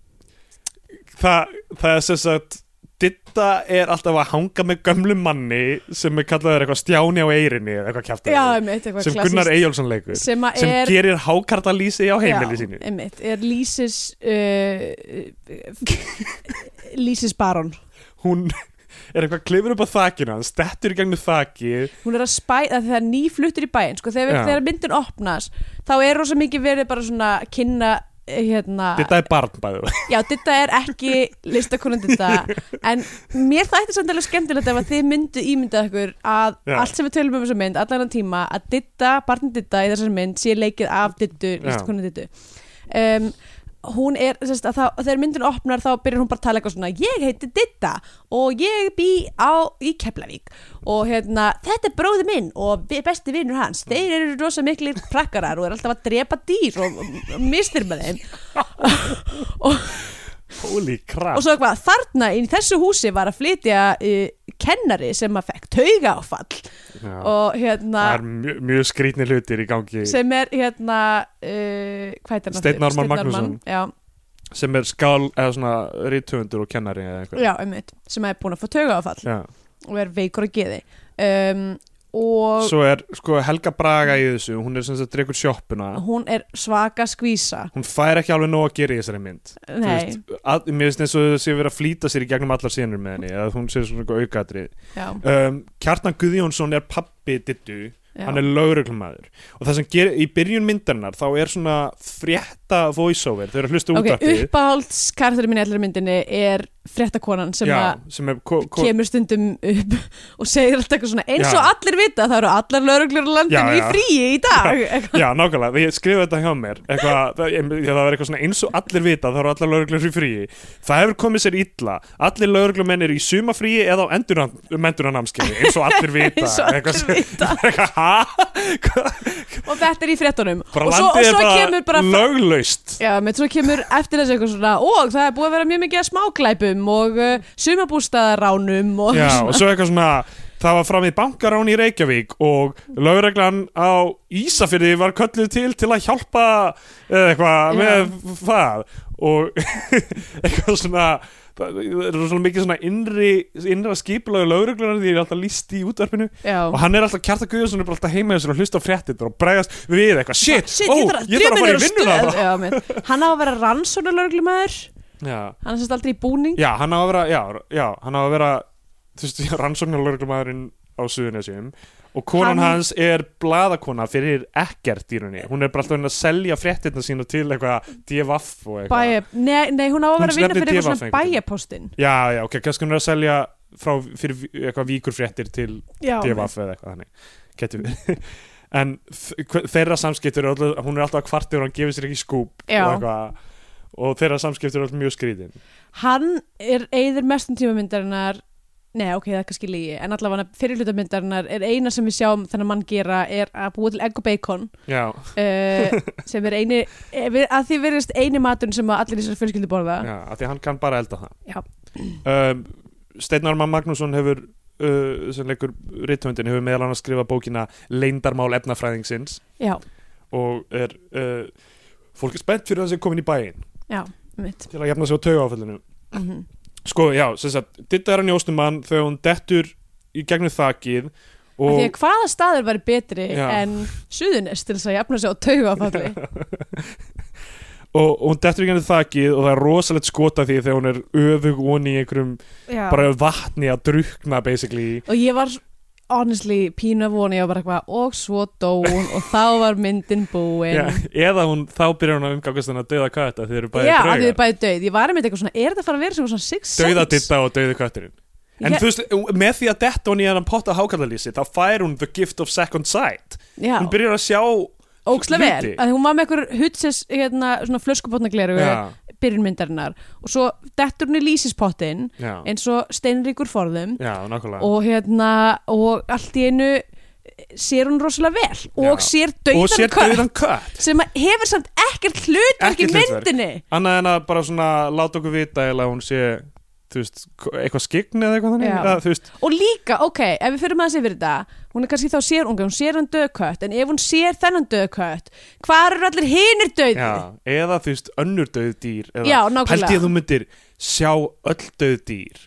það, það er sem sagt Ditta er alltaf að hanga með gömlu manni sem er kallaður eitthvað stjáni á eirinni eða eitthvað kjæft já, einmitt, eitthvað sem klassískt. Gunnar Eyjálsson leikur sem, sem, að er, gerir hákartalýsi á heimili já, sínu einmitt, er Lísis uh, (laughs) Lísis Baron hún (laughs) er eitthvað klifur upp á þakinu hann stettur í gegnum þakið hún er að spæða þegar nýfluttur í bæinn sko, þegar, Já. þegar myndin opnas þá er rosa mikið verið bara svona að kynna eh, hérna, Þetta er barn bæðu Já, Ditta er ekki listakonan Ditta En mér þætti samt alveg skemmtilegt ef að þið myndu ímyndað ykkur að Já. allt sem við tölum um þessa mynd, allan hann tíma að Ditta, barni Ditta í þessari mynd sé leikið af Dittu, listakonan Dittu um, hún er, sérst, að þá, þegar myndin opnar þá byrjar hún bara að tala eitthvað svona ég heiti Ditta og ég bý á í Keflavík og hérna þetta er bróði minn og vi- besti vinnur hans þeir eru rosa miklir prakkarar og er alltaf að drepa dýr og og mistir með þeim (laughs) holy crap og svo eitthvað, þarna í þessu húsi var að flytja uh, kennari sem að fekk taugaáfall Já. og hérna það er mjög, mjög skrýtni hlutir í gangi sem, sem er hérna uh, hvað heitir hann? Steinn Ármann Steinn Magnússon. já, er skál eða svona rítöfundur og kennari eða eitthvað já, einmitt, sem er búin að fá taugaáfall Já. og er veikur að geði um, og svo er sko Helga Braga í þessu hún er sem sagt dreikur sjoppuna hún er svaka skvísa hún fær ekki alveg nóg að gera í þessari mynd Þú nei, að, mér finnst eins og það sé verið að flýta sér í gegnum allar sínur með henni að hún sé svona eitthvað aukaðri já, um, Kjartan Guðjónsson er pappi dittu já, hann er lögreglumæður og það sem gerir í byrjun myndarinnar þá er svona frétta voiceover þau eru að hlusta ok, útvarpið uppáhaldskarturinn minn í allir myndinni er frettakonan sem Já, að sem er ko- ko- kemur stundum upp og segir alltaf eitthvað svona eins og Já. allir vita það eru allar lauruglur á landinu Já, í já. fríi í dag Já, nákvæmlega, ég skrifa þetta hjá mér eitthvað, það, ég, það var eitthvað svona eins og allir vita þá eru allar lögreglur í fríi það hefur komið sér illa, allir lögreglumenn eru í sumafríi eða á endurannamskeiði eins og allir vita eins og allir sem- vita (laughs) eitthvað, ha? og þetta er í frettunum Bara og svo, og landið svo er kemur bara bara löglaust Já, með svo kemur eftir þessu eitthvað svona og það er búið að vera mjög mikið að smáglæpum og uh, sumabústaðaránum og Já, og svo eitthvað svona Það var fram í bankarán í Reykjavík og lögreglan á Ísafyrði var kölluð til til að hjálpa eða eitthvað Já. með það og (laughs) eitthvað svona það er svona mikið svona innri innra skipulagi lögreglunar því ég er alltaf líst í útvarpinu Já. og hann er alltaf Kjartan Guðjónsson er bara alltaf heima þessir og hlusta á fréttir og bregðast við eitthvað shit, Shit, ó, ég þarf að, ég þarf að fara í vinnu vinnuna þarna. Já, með, hann á að vera rannsóna lögreglumæður Já, hann er sérst aldrei í búning já, hann á að vera já, já, hann á að vera þú veist, (laughs) rannsóknarlögreglumæðurinn á Suðunesjum og konan Hann- hans er blaðakona fyrir ekkert í rauninni hún er bara alltaf að reyna að selja fréttirna sína til eitthvað DFF og eitthvað Bæja, nei, nei, hún á að vera að Hún vinna stefnir fyrir eitthvað DFF svona einhvern veginn. bæjapostinn já, já, ok, kannski hún er að selja frá, fyrir vi- eitthvað víkurfréttir til Já, með- DFF eða eitthvað þannig getur við (laughs) en þ- hver- þeirra samskiptur er alltaf, hún er alltaf að kvartir og hann gefur sér ekki skúp Já. og eitthvað og þeirra samskiptur er alltaf mjög skrýtin hann er eigður mestum tímamyndarinnar Nei, ok, það er kannski lígi, en allavega fyrir hlutamyndarinnar er eina sem við sjáum þennan mann gera er að búa til egg og bacon já, uh, (laughs) sem er eini, eh, við- að því verðist eini maturinn sem að allir í þessar fjölskyldu borða já, af því að hann kann bara elda það Já, um, Steinar Mann Magnússon hefur uh, sem leikur rithöndin hefur meðal annars skrifað bókina Leindarmál efnafræðingsins já, og er uh, fólk er spennt fyrir að það sé komin í bæinn já, mitt til að jafna sig á tauga áfællinu mm sko já, sem sagt, ditta er að njóstum mann þegar hún dettur í gegnum þakið Af því og að hvaða staður væri betri Já. en suðunest til þess að jafna sig á tauga falli. Og, og hún dettur í gegnum þakið og það er rosalegt skota því þegar hún er öfug onni í einhverjum bara vatni að drukna basically Og ég var honestly pínu að vona, ég var bara eitthvað og svo dó hún og þá var myndin búin. Já, eða hún, þá byrjar hún að umgangast hann að dauða kvæta þegar þeir eru bæði Já, af því þið er bæði döið. Ég var einmitt eitthvað svona, er þetta að fara að vera sem svona six sense? dauða ditta og dauði kötturinn En Ég- þú veist, eh, með því að detta hún í hennan potta hákallalýsi þá fær hún the gift of second sight Já, Hún byrjar að sjá ókslega vel. hluti. Að því hún var með einhver hutsins, hérna, svona flöskupotnagleru Já, byrjunmyndarinnar og svo dettur hún í lýsispottin já, eins og steinríkur forðum já, nákvæmlega og hérna og allt í einu eh, sér hún rosalega vel og Já. sér Og dauðan sér kött dauðan kött sem að hefur samt ekkert hlutverk í Ekkert hlutverk. myndinni Annað en að bara svona láta okkur vita eða hún sé, þú veist, eitthvað skikni eða eitthvað þannig Já. eða, Þú veist, og líka, ok, ef við fyrir maður sér fyrir þetta hún er kannski þá sér unga, hún sér hann döðkött en ef hún sér þennan döðkött hvar eru allir hinir döði já, eða þú veist, önnur dauð dýr eða, Já, nákvæmlega. Pældi ég að þú myndir sjá öll dauð dýr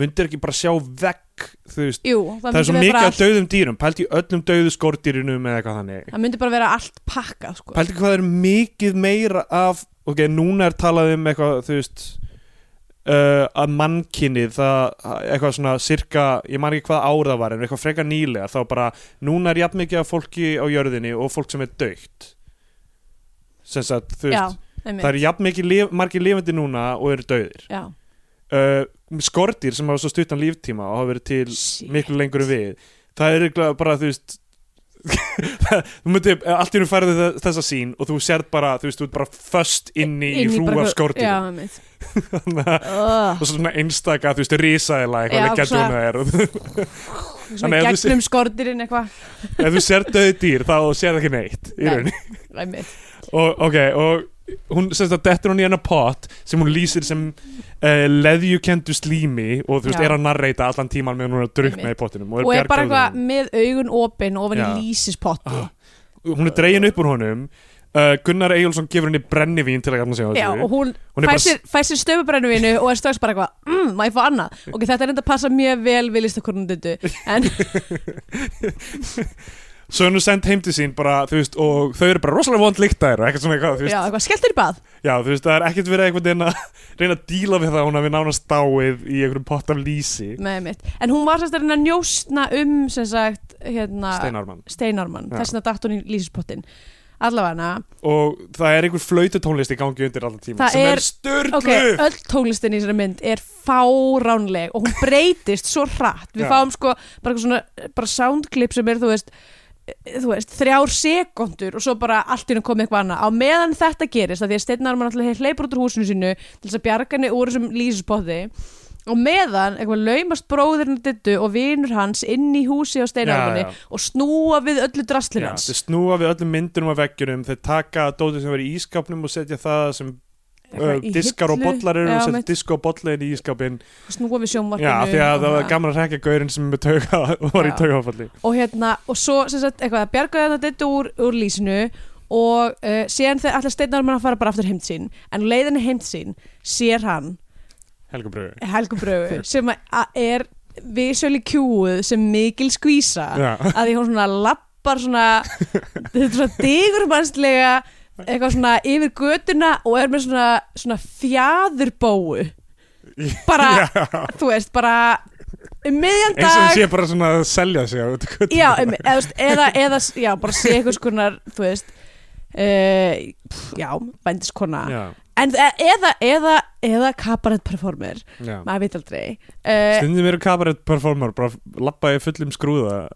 Myndir ekki bara sjá vekk, þú veist Jú, Það, það, er svo myndi vera mikið bara af allt, dauðum dýrum, pældi í öllum dauðu skordýrinum eða eitthvað þannig það myndi bara vera allt pakkað sko. Pældi hvað er mikið meira af ok, núna er talað um eitthvað þú veist uh, að mannkinnið, það eitthvað svona cirka, ég man ekki hvað ára var en eitthvað frekar nýlega, þá bara núna er jafn mikið af fólki á jörðinni og fólk sem er dögt sem sagt, þú já, veist einmitt. það er jafn mikið lif, margir lifandi núna og eru döðir já. uh, skortir sem hafa svo stuttan líftíma og hafa verið til Shit. miklu lengur en við það er örugglega bara þú veist (laughs) þú myndir, eh, allt í hún færði þessa sín og þú sérð bara, þú veist, þú ert bara föst inn í, í bara hrúaf eitthvað- skórtinu já, einmitt. (laughs) og Ugh, (laughs) svo svona einstaka, þú veist, risaðila Já, eitthvað leggja svona- djóna er og svona Þannig að þú gegnum skortirinn eitthvað ef þú sér döði dýr þá sér það ekki neitt í Nei. rauninni Einmitt. og ok, og hún semst að dettur hún í hennar pott sem hún lýsir sem uh, leðjukendu slími og þú veist, Já. er að narreita allan tíman meðan hún er að drukna í pottinum og, og er bara bjargað eitthvað með augun opin ofan Já. í lýsispotti Ah, úr honum. hún er dregin upp úr honum uh, Gunnar Eyjólfsson gefur henni brennivín til að gafna sig á já, þessu og hún hún er fær bara sér, fær sér stöfubrennuvínu og er strax bara eitthvað mm, má ég fá annað? Ok, þetta er enda að passa mjög vel við listakornundu en svo er hún sendt heim til sín bara, þú veist, og þau eru bara rosalega vond líktæðir og ekkert svona eitthvað, þú veist, já, eitthvað skelltur í bað já. þú veist, það er ekkert verið einhvern veginn að (laughs) reyna að díla við það hún hafi nánast dáið í einhverjum pott af lýsi með mitt en hún var sérst að reyna að njóstna um sem sagt hérna Steinarmann Steinarmann Já. þess að datt hún í lýsispottin allavega og það er einhver flaututónlist í gangi undir allan tíma Það sem er, er- er störlu ok, öll tónlistin í þessari mynd er fáránleg og hún breytist svo hratt við Já. fáum sko bara eitthvað svona bara soundklip sem er þú veist þú veist, þrjár sekundur og svo bara allt í hún komið eitthvað annað á meðan þetta gerist, af því að Steinarmann alltaf hleypur út úr húsinu sínu til þess að bjarga henni úr þessum lýsispotti og meðan eitthvað laumast bróðurinn dittu og vinur hans inn í húsi á Steinarmanni Já, já. og snúa við öllu drastlinn Já, hans þeir snúa við öllum myndunum af veggjunum þeir taka dótið sem verið í ískapnum og setja það sem uh, Eitthvað í diskar og hillu, bollar eru já, og setja mitt. disk og bollar í ískapin snúa við sjónvarpinu Já, af því að og það svona. var gaman að rekja gaurinn sem er með tauga, (laughs) var í Já. taugafalli og hérna og svo sem sagt eitthvað bjargaði þetta þetta úr, úr lísinu og uh, síðan þegar allir steinar mann að fara bara aftur heimt sín en leiðinni heimt sín sér hann Helga Brögu (laughs) Helgubrögu sem að- að er visjóli kjúuð sem mikil skvísa Já, að því hún svona lappar (laughs) svona þetta er svona digurmannslega eitthvað svona yfir götuna og er með svona, svona fjæðurbóu bara, Já. þú veist, bara um miðjan eins og dag hún sé bara svona að selja sig á þetta kvöld já, em- eða, þú veist, eða, eða já, bara sé einhvers konar þú veist uh, pff, já, vendiskona Já, en e- eða, eða, eða kabarett performer, já maður veit aldrei uh, Stundum eru kabarett performer, bara lappa í fullum (laughs) skrúða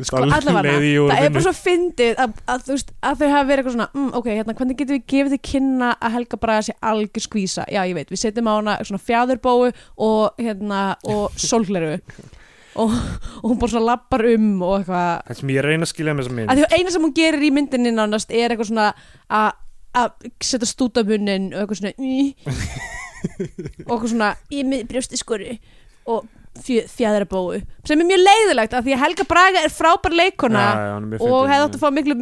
Sko allavega, það er bara svo fyndið að, að, þú veist, að þau hafa verið eitthvað svona mm, ok, hérna, hvernig getum við gefið þið kynna að Helga Braga sé algjör skvísa, já, ég veit við setjum á hana svona fjæðurbóu og hérna, og sólgleru og, og hún bara svona lappar um og eitthvað Það sem ég reyna að skilja með þessa mynd að því að eina sem hún gerir í myndinni nánast er eitthvað svona að að setja stút af munnin og eitthvað svona í, og eitthvað svona í mið brjósti skoru og fjæðarabóu sem er mjög leiðilegt af því að Helga Braga er frábær leikona Já, já, hún er mjög og fyndin, hefði já. átt að fá miklu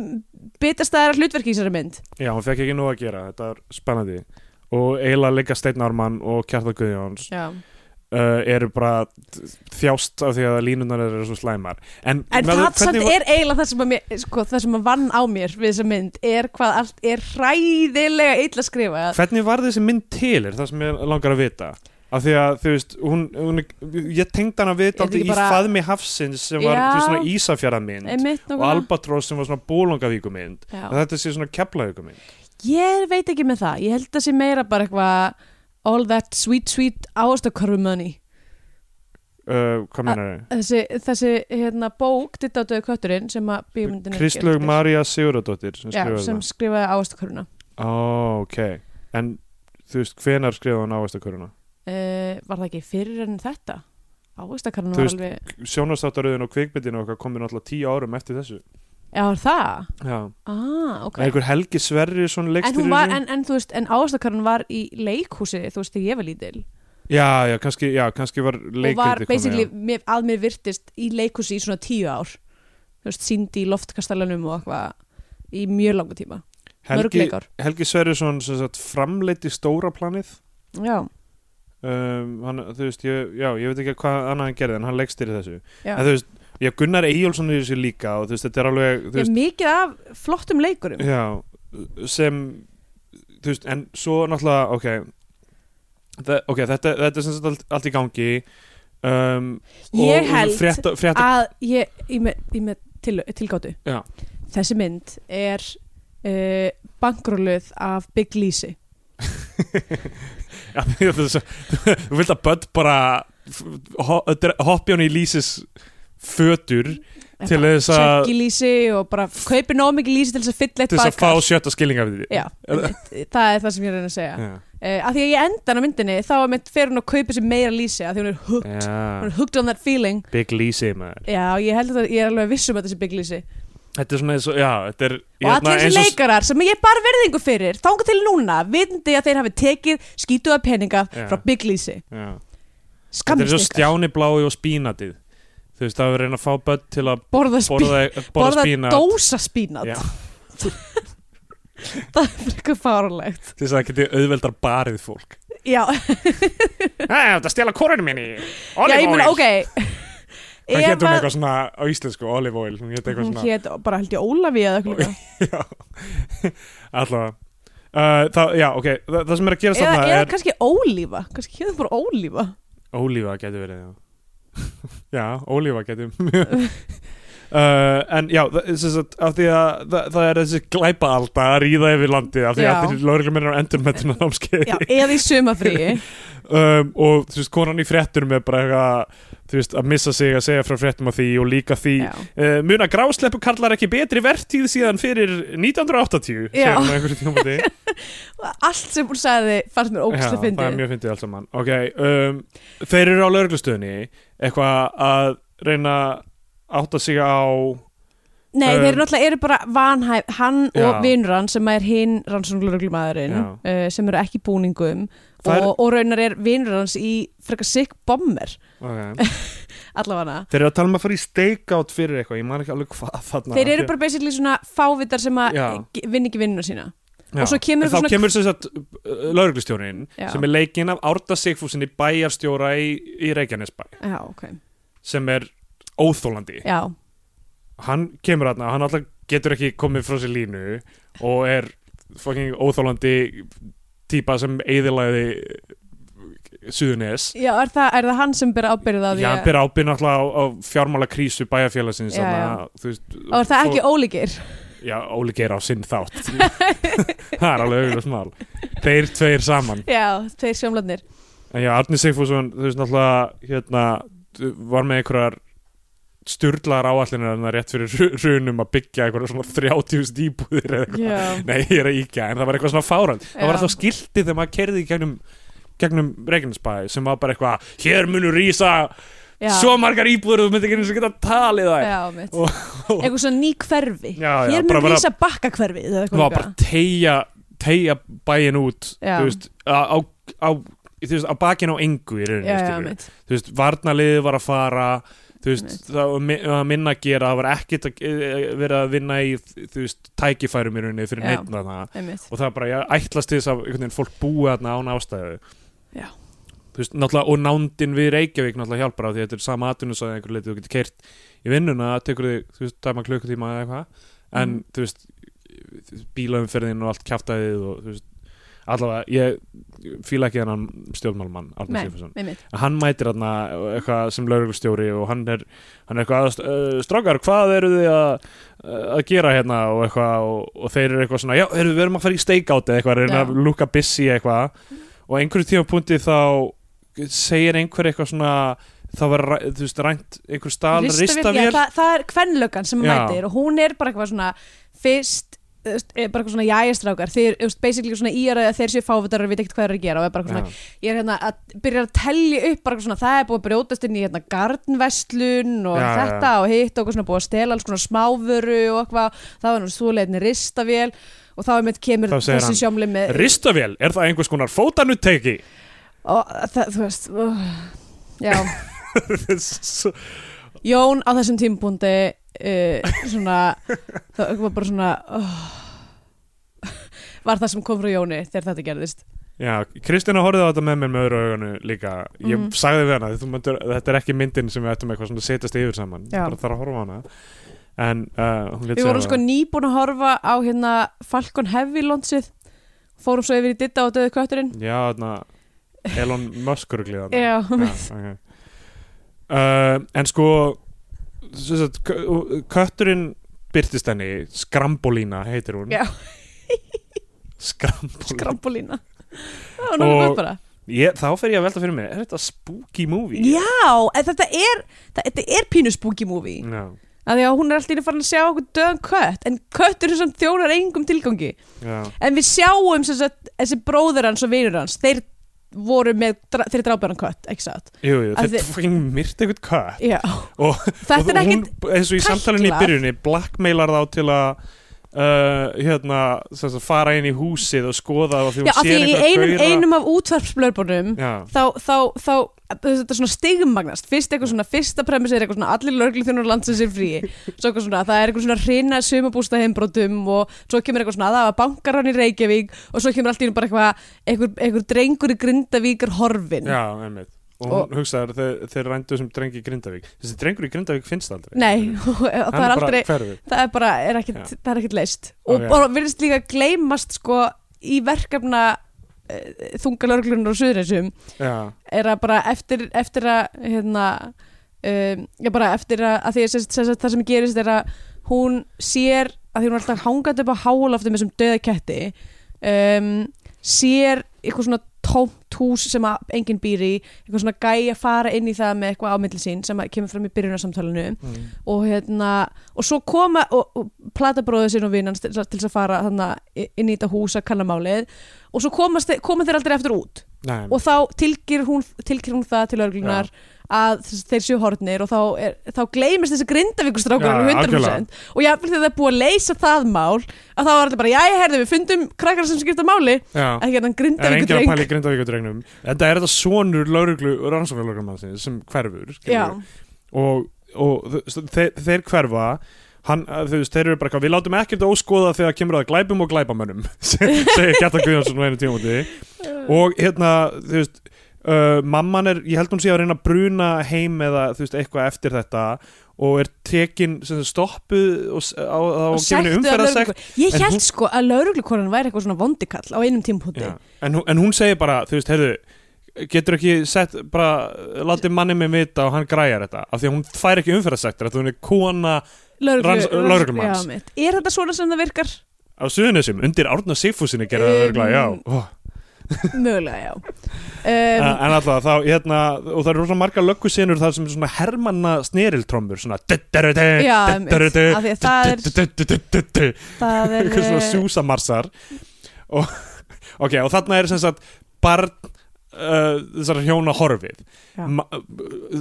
bitastæðara hlutverki í þessari mynd Já, hún fekk ekki nú að gera, þetta er spennandi og eiginlega leika Steinn Ármann og Kjartan Guðjóns já. uh, eru bara t- þjást af því að línunar eru svo slæmar En, en með- það samt hvernig var- er eiginlega það sem, að mér, sko, það sem að vann á mér við þessa mynd er hvað allt er hræðilega illa skrifað Hvernig var þessi mynd til, er það sem ég langar að vita Af því að, þú veist, hún, hún ég tengd hana við Er þetta dálítið ekki í bara- faðmi hafsins sem Já. var, þú veist, svona Ísafjara mynd Einmitt, og nákvæmlega. Albatross sem var svona bólongavíku mynd Já. en þetta sé svona keplavíku mynd Ég veit ekki með það, ég held að sé meira bara eitthvað all that sweet sweet áastakörfu money uh, Hvað menar þau? þessi, þessi hérna bók ditt á döðu kötturinn sem að bíumundin Kristlög María Siguradóttir sko. sem Já, skrifaði sem það skrifaði ástakörfuna Ó, ok En, þú veist, hvenær skrifaði hann ávæstaköruna? uh, Var það ekki fyrir en þetta? Ástakörfuna Þú var veist- alveg Sjónastáttaröðin og kvikmyndin okkar komið náttúrulega tíu árum eftir þessu Já, var það? Já Ah, ok okay. einhver Helgi Sverri svona En, leikstur hún var, en, en þú veist, en ástakörfun var í leikhúsi, þú veist, þegar ég var lítil já, já, kannski, já, kannski var og var leikriti basically, mér, að mér virtist í leikhúsi í svona tíu ár þú veist, síndi í loftkastalunum og eitthvað í mjög langa tíma mörg Helgi, leikár. Helgi Sverri svona framleiti stóra planið Já, um, hann, þú veist, ég, já, ég veit ekki hvað annað hann gerði en hann leikstur þessu já. en þú veist, já, Gunnar Eyjólfsson er í þessu líka og þú veist, þetta er alveg þú Ég er veist, mikið af flottum leikurum já, sem þú veist, en svo náttúrulega ok, Þa, okay þetta, þetta er sem sagt allt, allt í gangi um, Ég og, held og frétta, frétta, Að ég, ég með, ég með til, tilgáttu Já. Þessi mynd er uh, bankróluð af Big Lisi Já, því að þess að- þú vilt að Bud bara f- ho- dre- hoppi hann í Lísis fötur Til þess að- Sækki lísi og bara kaupi nóg mikið lísi til þess að fylla eitt til þess að fá badkar. sjötta skilninga við því Já, einmitt, það er það sem ég er að reyna að segja Já. uh, að því að ég endan á myndinni þá er mitt fer hún að kaupa sér meira lísi að því hún er hooked hún Já. er hooked on that feeling Big Lisi maður já ég held að ég er alveg viss um að þessi bygglísi Þetta er svona eins og, já, þetta er og hérna, allir eins þessi leikarar sem ég bar verðingu fyrir þanga til núna vitandi að þeir hafi tekið skítuða peninga Já. frá bygglísi já. Þetta er skammist svo ykkar stjáni blái og spínatið Þú veist, það er að reyna að fá börn til að borða, spí borða, borða borða spínat dósa spínat Já. (laughs) það er frekar fárlegt Til þess að það geti auðveldar barið fólk já, Það er að stela korunum minni já ég meina ok (laughs) Það Ef getur hún að- eitthvað svona á íslensku, olive oil Hún getur eitthvað hún svona hét bara held ég Ólafi eða eitthvað líka. Já, (laughs) allavega uh, það, Já, ok, það, það sem er að eða, gera hérna þarna eða er kannski Ólífa kannski hétt bara Ólífa Ólífa getur verið, já (laughs) Já, ólífa getur uh, (laughs) En já, það, sem sagt, af því að það, það er þessi glæpaalda að ríða yfir landið af því Já. að þeir lögreglum er á endurmettuna námskeið (laughs) já, eða í sumafríi um, og þú veist, konan í fréttunum er bara eitthvað, þú veist, að missa sig að segja frá fréttum á því og líka því Já. uh, muna grásleppu kallar ekki betri vertíð síðan fyrir 1980 Já. segir hún á einhverju (laughs) tímapunkti. allt sem hún sagði fannst mér Já, ógæslega það er fyndið mjög fyndið allt saman ok, um, þeir eru á lögreglustöðinni eitthvað að reyna að átta sig á nei, Um, þeir eru náttúrulega eru bara vanhæf hann og Já. vinnur hann sem er hinn rannsóknlögreglumæðurinn Já. uh, sem eru ekki í búningum Það er- og, og raunar er vinnur hans í frekar sikk bomber (laughs) okay. allavega þeir eru að tala um að fara í stakeout fyrir eitthvað, ég man ekki alveg hvað þarna þeir eru bara basically svona fávitar sem að Já. g- vinna ekki vinnuna sína Já. og svo kemur En þá svona- kemur sem sagt lauruglustjórin Já. sem er leikinn af Árda Sigfúsinni bæjarstjóra í, í Reykjanesbæ já, ok, sem er óþólandi já, hann kemur aðna, hann alltaf getur ekki komið frá sér línu og er fucking óþólandi típa sem eiðilaði Suðunis já er, það, er það hann sem bera ábyrðið á því Já, hann að- ber ábyrð náttúrulega á, á fjármála krísu bæjarfélagsins Já, þannig já. að, þú veist, og er það fólk- ekki ólíkir (laughs) Já, Óli geir á sinn þátt Það er alveg auðvitað smál Þeir tveir saman já, tveir sjómlarnir En já, Arni Sigfússon, þú veist náttúrulega hérna, d- var með einhverjar styrlar áallinir en það rétt fyrir hru- hrunum að byggja einhverjar svona 30.000 íbúðir eða eitthvað. já, Nei, ég er að íkja, en það var eitthvað svona fárand. Það var Já. alltaf skiltið þegar maður kerði í gegnum gegnum Reykjanesbæ sem var bara eitthvað hér munu rýsa já. svo margar íbúður þú myndi ekki eins og geta talið það já, mitt Og- eitthvað svona ný hverfi Já, já, hér bara- mun bara- rísa bakka hverfi það var bara að teygja teygja bæin út Já. þú veist, á, á, á, þú veist, á bakin á engu í rauninni já, já, skilurðu. mitt þú veist, varnarliðið var að fara þú veist, Einmitt. það var mi- var minna að gera það var ekkert að eh, vera að vinna í þú veist, tækifærum í rauninni fyrir Já. neitt þarna Einmitt. og það var bara, ég ætlast til þess að einhvern veginn fólk búi þarna án ástæðu Já. þú veist, náttúrulega, og nándin við Reykjavík náttúrulega hjálpar á því að þetta er sama atvinnusæði einhver leiti, þú getur keirt í vinnuna tekur þig, þú veist, dæma klukkutíma eða eitthvað en, Mhm. þú veist bílaumferðin og allt kjaftaðið og, þú veist, allavega, ég fíla ekki hennan stjórnmálumann, Arnur Nei, Sifursson einmitt. hann mætir þarna eitthvað sem lauruglustjóri og hann er, hann er eitthvað aðast, uh, strákar, hvað eru þið að, að gera hérna og eitthvað og, og þeir eru eitthvað svona, já, heyrðu, við erum að fara í stakeout eða eitthvað, Já. reyna að lúka busy eitthvað og á einhverju tímapunkti þá segir einhver eitthvað svona þá var, ræ- þú veist, rænt einhver stál Ristavél, ristavél já, það, það er kvennlökan sem Já. mætir og hún er bara eitthvað svona fyrst þú veist, er bara eitthvað svona jæjastrákar þeir, þú veist, basically svona í að þeir séu fávitar og við ekkert hvað þeir eru að gera og er bara eitthvað svona Já. ég er hérna að byrja að tellja upp bara eitthvað svona, það er búið að brjótast inn í hérna garnvestlun og Já, þetta og hitt og eitthvað svona búið að stela alls konar smávöru og eitthvað, það var nú svoleiðinni ristavél og þá er mitt kemur Þá segir þessi hann, sjómli með ristavél, er það einhvers konar fótanutteki og það, þú veist uh, (laughs) já, Svo- Jón á þessum tímpúndi uh, svona það var bara svona uh, var það sem kom frá Jóni þegar þetta gerðist Já, Kristina horfði á þetta með mér með öðru augunu líka Ég Mhm. sagði við hana, þú myndir, þetta er ekki myndin sem við ættum eitthvað svona að setjast yfir saman Já. Bara þarf að horfa á hana En uh, hún lét Við segja vorum sko nýbúin að horfa á hérna Falcon Heavy lonsið fórum svo yfir í ditta á döðu kötturinn Já, þarna, Elon Musk ruglið þarna Já, (laughs) okay. uh, En sko sem sagt, kö- Kötturinn byrtist henni Skrambolína heitir hún Já. Skrambolína krampolína Það var nógu Og- gott bara ég, Þá fer ég að velta fyrir mér, er þetta spooky movie? Já, en þetta er það, þetta er pínu spooky movie Já, að því að hún er alltaf farin að sjá okkur döðan kött en köttur sem þjónar engum tilgangi já, en við sjáum sem sagt, þessi bróður hans og vinur hans þeir voru með, dra- þeir drápa hann kött ekki satt, jú, jú, Að þetta þið- fucking myrt eitthvað kött já og, þetta er og hún, ekkert eins og í samtalinu í tæklað. byrjunni blackmailar þá til að uh, hérna, sem sagt, fara inn í húsið og skoða það og því já, hún af því í sér einhverja einum, gaura- einum af útvarpsblörbunum já, þá, þá, þá þetta er svona stigmagnast fyrst eitthvað svona, fyrsta premiss er eitthvað svona allir lögli þjónar landsins er frí svo eitthvað svona, það er eitthvað svona hrina sumabústa heimbrotum og svo kemur eitthvað svona að það var bankarann í Reykjavík og svo kemur allt í einu bara eitthvað einhver, einhver drengur í Grindavíkar horfin já, einmitt og hún hugsaðar þeir, þeir rændu sem drengi í Grindavík þessi drengur í Grindavík finnst aldrei nei, (laughs) og það er aldrei hverfið það er bara, er ekkit, Já. það er ekkit leist og Ok. okay. bara virðist líka gleymast sko í verkefna uh, þungalörglunar og suðreysum já, er að bara eftir, eftir að hérna um, ég bara eftir að, að því að sem, sem, sem, það sem gerist er að hún sér að því hún er alltaf hangandi upp á hálaftum með þessum döða ketti um, sér eitthvað svona tómt hús sem að enginn býr í eitthvað svona gæi að fara inn í það með eitthvað ámyndli sín sem að kemur fram í byrjunarsamtalinu mm. og hérna og svo koma og, og platabróðu sín og vinnans til, til þess að fara þarna inn í þetta hús að kanna málið og svo komast, þe- koma þeir aldrei eftir út nei, og þá tilkýr hún, tilkýr hún það til örglunar að þess- þeir séu hornir og þá, er, þá gleymist þessi grindavíkustrákur Já, alveg 100% og jáfnvel þegar það er búið að leysa það mál að þá er allir bara, jæja, herðu, við fundum krakkar sem skipta máli, já ekki hérna Það er enginn að pæla grindavíkudreng í grindavíkudrengnum En það er þetta sonur lauruglu rannsóknarlaugramannsins sem hverfur Já, skilurðu. og, og þe- þeir, þeir hverfa hann, þau veist, þeir eru bara eitthvað við látum ekkert óskoða þegar kemur að glæpum og glæpamönnum (laughs) segir Gjartan Guðjónsson á einu tímúti og hérna þú veist Uh, mamman er, ég held hún sé að reyna að bruna heim eða þú veist eitthvað eftir þetta og er tekin sem sagt, stoppuð og s- á, á, á sektuð gefinu af umferðasekt lögreglu- Ég En held hún- sko að lauruglukonan væri eitthvað svona vondikall á einum tímpúti Já, en, hún- en hún segir bara, þú veist, heyrðu getur ekki sett, bara látið manni með vita og hann græjar þetta af því að hún fær ekki umferðarsektur, af því að hún er kona Lögreglu- Ranns- ranns- lögreglumanns. já, mitt. Er þetta svona sem það virkar? á suðunisum, undir Árna Sigfúsinni gerði það Um, örgla, já oh. Mögulega, já (laughs) en um, en alltaf þá, hérna, og það eru rosa margar löggusinur þar sem er svona hermanna sneriltrommur, svona eh, Já, einmitt. Af því að það er- er Það er eh, (laughs) eitthvað svona eh, súsamarsar og, (laughs) ok, og þarna er sem sagt barn uh, þessar hjóna horfið Já. Ma, uh,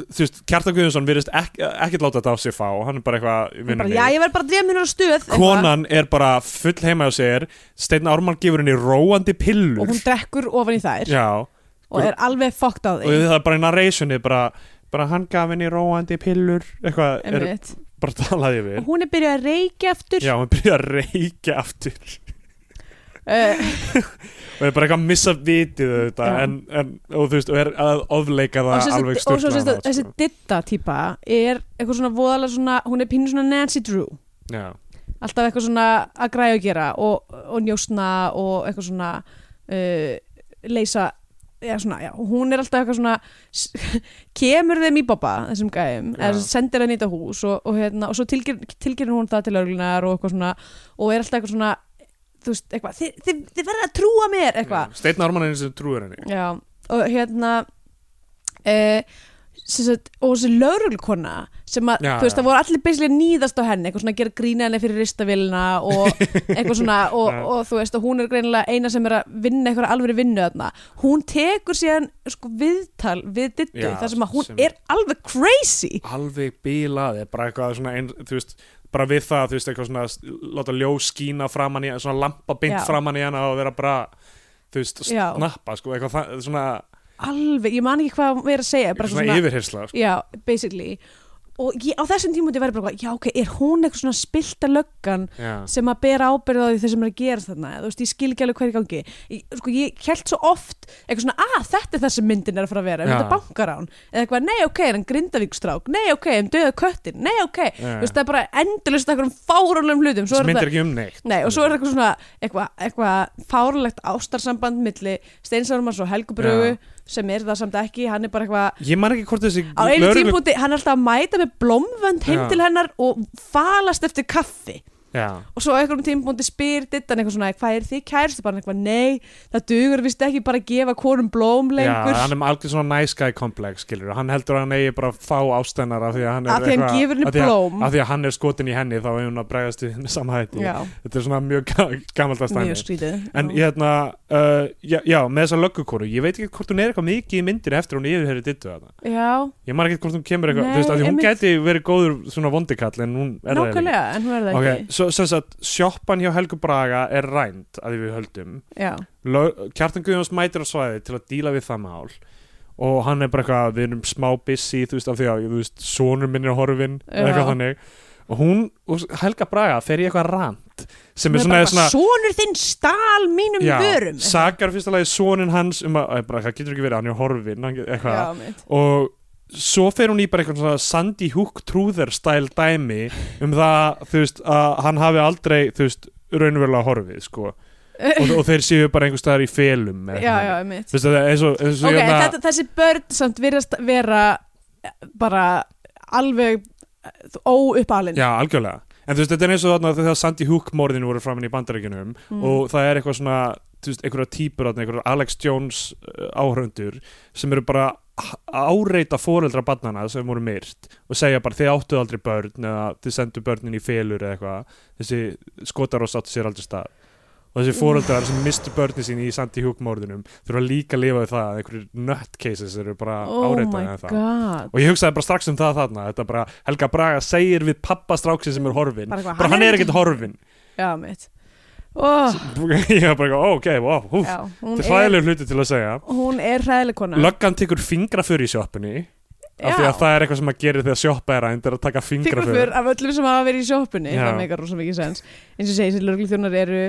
þú veist, Kjartan Guðjónsson virðist ek, ekkert láta þetta á sig fá hann er bara eitthvað bara, vinnunni. Já, ég verð bara að drefa mér á stöð eitthvað. konan er bara full heima á sér Steinn Ármann gefur henni róandi pillur Og hún drekkur ofan í þær já, Og er alveg fokkt á og því það er bara í narrationi bara, bara hann gaf henni róandi pillur eitthvað, er Einmitt. bara talað yfir Og hún er byrjuð að reykja aftur já, hann byrja að reykja aftur uh, og er bara eitthvað að missa vitið þetta Já. en, en, og þú veist, og er að ofleika Og, það sem alveg sko. sagt- og svo stjórnlega sérst að þessi ditta típa Er eitthvað svona voðalega svona Hún er pínu svona Nancy Drew já, Alltaf eitthvað svona að græja að gera Og, og njósna og eitthvað svona uh, Leysa Já, svona, já, og hún er alltaf eitthvað svona s- (laughs) kemur þeim í baba þessum gæðum, Já. eða sendir henni í þetta hús og, og, hérna, og svo tilgir, tilgir hún það til örglunar og eitthvað svona og er alltaf eitthvað svona þú veist, eitthvað, þið, þið, þið verður að trúa mér eitthvað, Steinn Ármann er eins og trúir henni já, og hérna e, sagt, og þessi lögreglukona sem að, Já, þú veist, já. það voru allir beislega nýðast á henni, eitthvað svona að gera grína henni fyrir ristavélina (laughs) og eitthvað svona og, Já. og, þú veist, og hún er greinilega eina sem er að vinna eitthvað alveg vinnu þarna hún tekur síðan sko viðtal við dittu, Já, þar sem að hún sem- er alveg crazy alveg bílaði, bara eitthvað svona ein, þú veist, bara við það, þú veist, eitthvað svona s- láta ljós skína framan í hana svona lampa beint Já. framan í hana og vera bara þú veist, Já. snappa, sko, eitthvað það, svona, alveg, ég man ekki hvað hún er að segja bara svona, eitthvað svona yfirhirsla, sko. Já, basically Og ég, á þessum tímundi verður bara, eitthvað, já ok, er hún eitthvað svona spilta löggan Já. sem að bera ábyrð á því þeir sem er að gera þarna þú veist, ég skil ekki alveg hverju gangi ég, sko, ég held svo oft eitthvað svona, að þetta er það sem myndin er að fara að vera um Já. þetta bankarán, eða eitthvað, nei ok, er hann grindavíkstrák nei ok, um döða köttin, nei ok Já. þú veist, það er bara endalust eitthvað um fáránlegum hlutum Svo sem er þetta- myndir ekki um neitt Nei, og svo er eitthvað svona eitthvað, eitthvað fárlegt ástarsamband milli Steinsarmans og Helgubrögu sem er það samt ekki, hann er bara eitthvað ég man ekki hvort þessi á einu lögreglu- tímpúti, hann er alltaf að mæta með blómvönd heim Já. til hennar og falast eftir kaffi já, og svo á einhverjum tímpúndi spyr dittan eitthvað svona hvað er þið kærustu bara eitthvað nei það dugur vist ekki bara að gefa konum blóm já, lengur hann er með algjör svona nice guy komplex skilur, hann heldur að hann eigi bara að fá ástennar af því að hann er Af því hann eitthvað- gefur henni af því að- blóm. af því að hann er skotin í henni þá er hún að bregðast við henni samhætti já, þetta er svona mjög gammaltast mjög skrítið En já. hérna, uh, já, já, með þessa löggukonu Ég veit ekki hvort hún er eitthvað mikið í myndir eftir hún yfirherri dittu þarna já, Ég man ekki hvort hún kemur eitthvað, Nei, þú veist, að því hún einmitt. gæti verið góður svona vondikall En hún er nákvæmlega en hún er það það ekki ekki Ok, svo sem sagt, sjoppan hjá Helgu Braga er rænd að því við höldum já, Lög- Kjartan Guðjóns mætir á svæði til að díla við það mál Og hann er bara eitthvað, við erum smá busy, þú veist, af því að, þú veist, sonur minn er horfinn eða eitthvað Já. þannig Og hún, og Helga Braga, fer í eitthvað rant Sem er Hún svona, bara, svona sonur þinn stál mínum vörum sakar fyrsta lagi sonin hans um að, bara, það getur ekki verið, hann er horfin hann, get- eitthvað, já, mitt og svo fer hún í bara eitthvað svona Sandy Hook trúðer stæl dæmi um það, þú veist, að hann hafi aldrei, þú veist, raunverulega horfið, sko og, og þeir séu bara einhver staðar í felum eða já, eitthvað. já, mitt þú veist, það er eins og, eins og ok, hérna- þetta, þessi börn samt virðast vera eh, bara eh, alveg óuppalinn já, algjörlega en þú veist, þetta er eins og þarna þegar Sandy Hook morðin voru framin í bandaríkjunum Mm. og það er eitthvað svona þú veist, einhverja típur, þarna, einhverja Alex Jones uh, áhörundur sem eru bara að áreita foreldra barnana sem voru myrt og segja bara þið áttuð aldrei börn eða þið sendu börnin í felur eða eitthvað þessi skotarós áttu sér aldrei stað og Mm. þessi foreldrar sem mistu börnin sín í Sandy Hook morðinum þurfa líka að lifa við það að einhverju nutcases eru bara oh my áreitað það god og ég hugsaði bara strax um það þarna þetta bara Helga Braga segir við pappa stráksi sem er horfin Bara eitthvað, bara hann er ekkert horfin já, mitt oh, (laughs) ég var bara eitthvað, "Ó, ok, wow, hú, já, hún þetta er er hræðilegur hluti til að segja hún er hræðileg kona löggan tekur fingraför í sjoppunni af því Já. að það er eitthvað sem að gera þegar sjoppa er rænd er að taka fingraför fingraför af öllum sem hafa verið í sjoppunni Já. það meikar rosa mikið sens eins og ég segi, þessi lögregluþjónar eru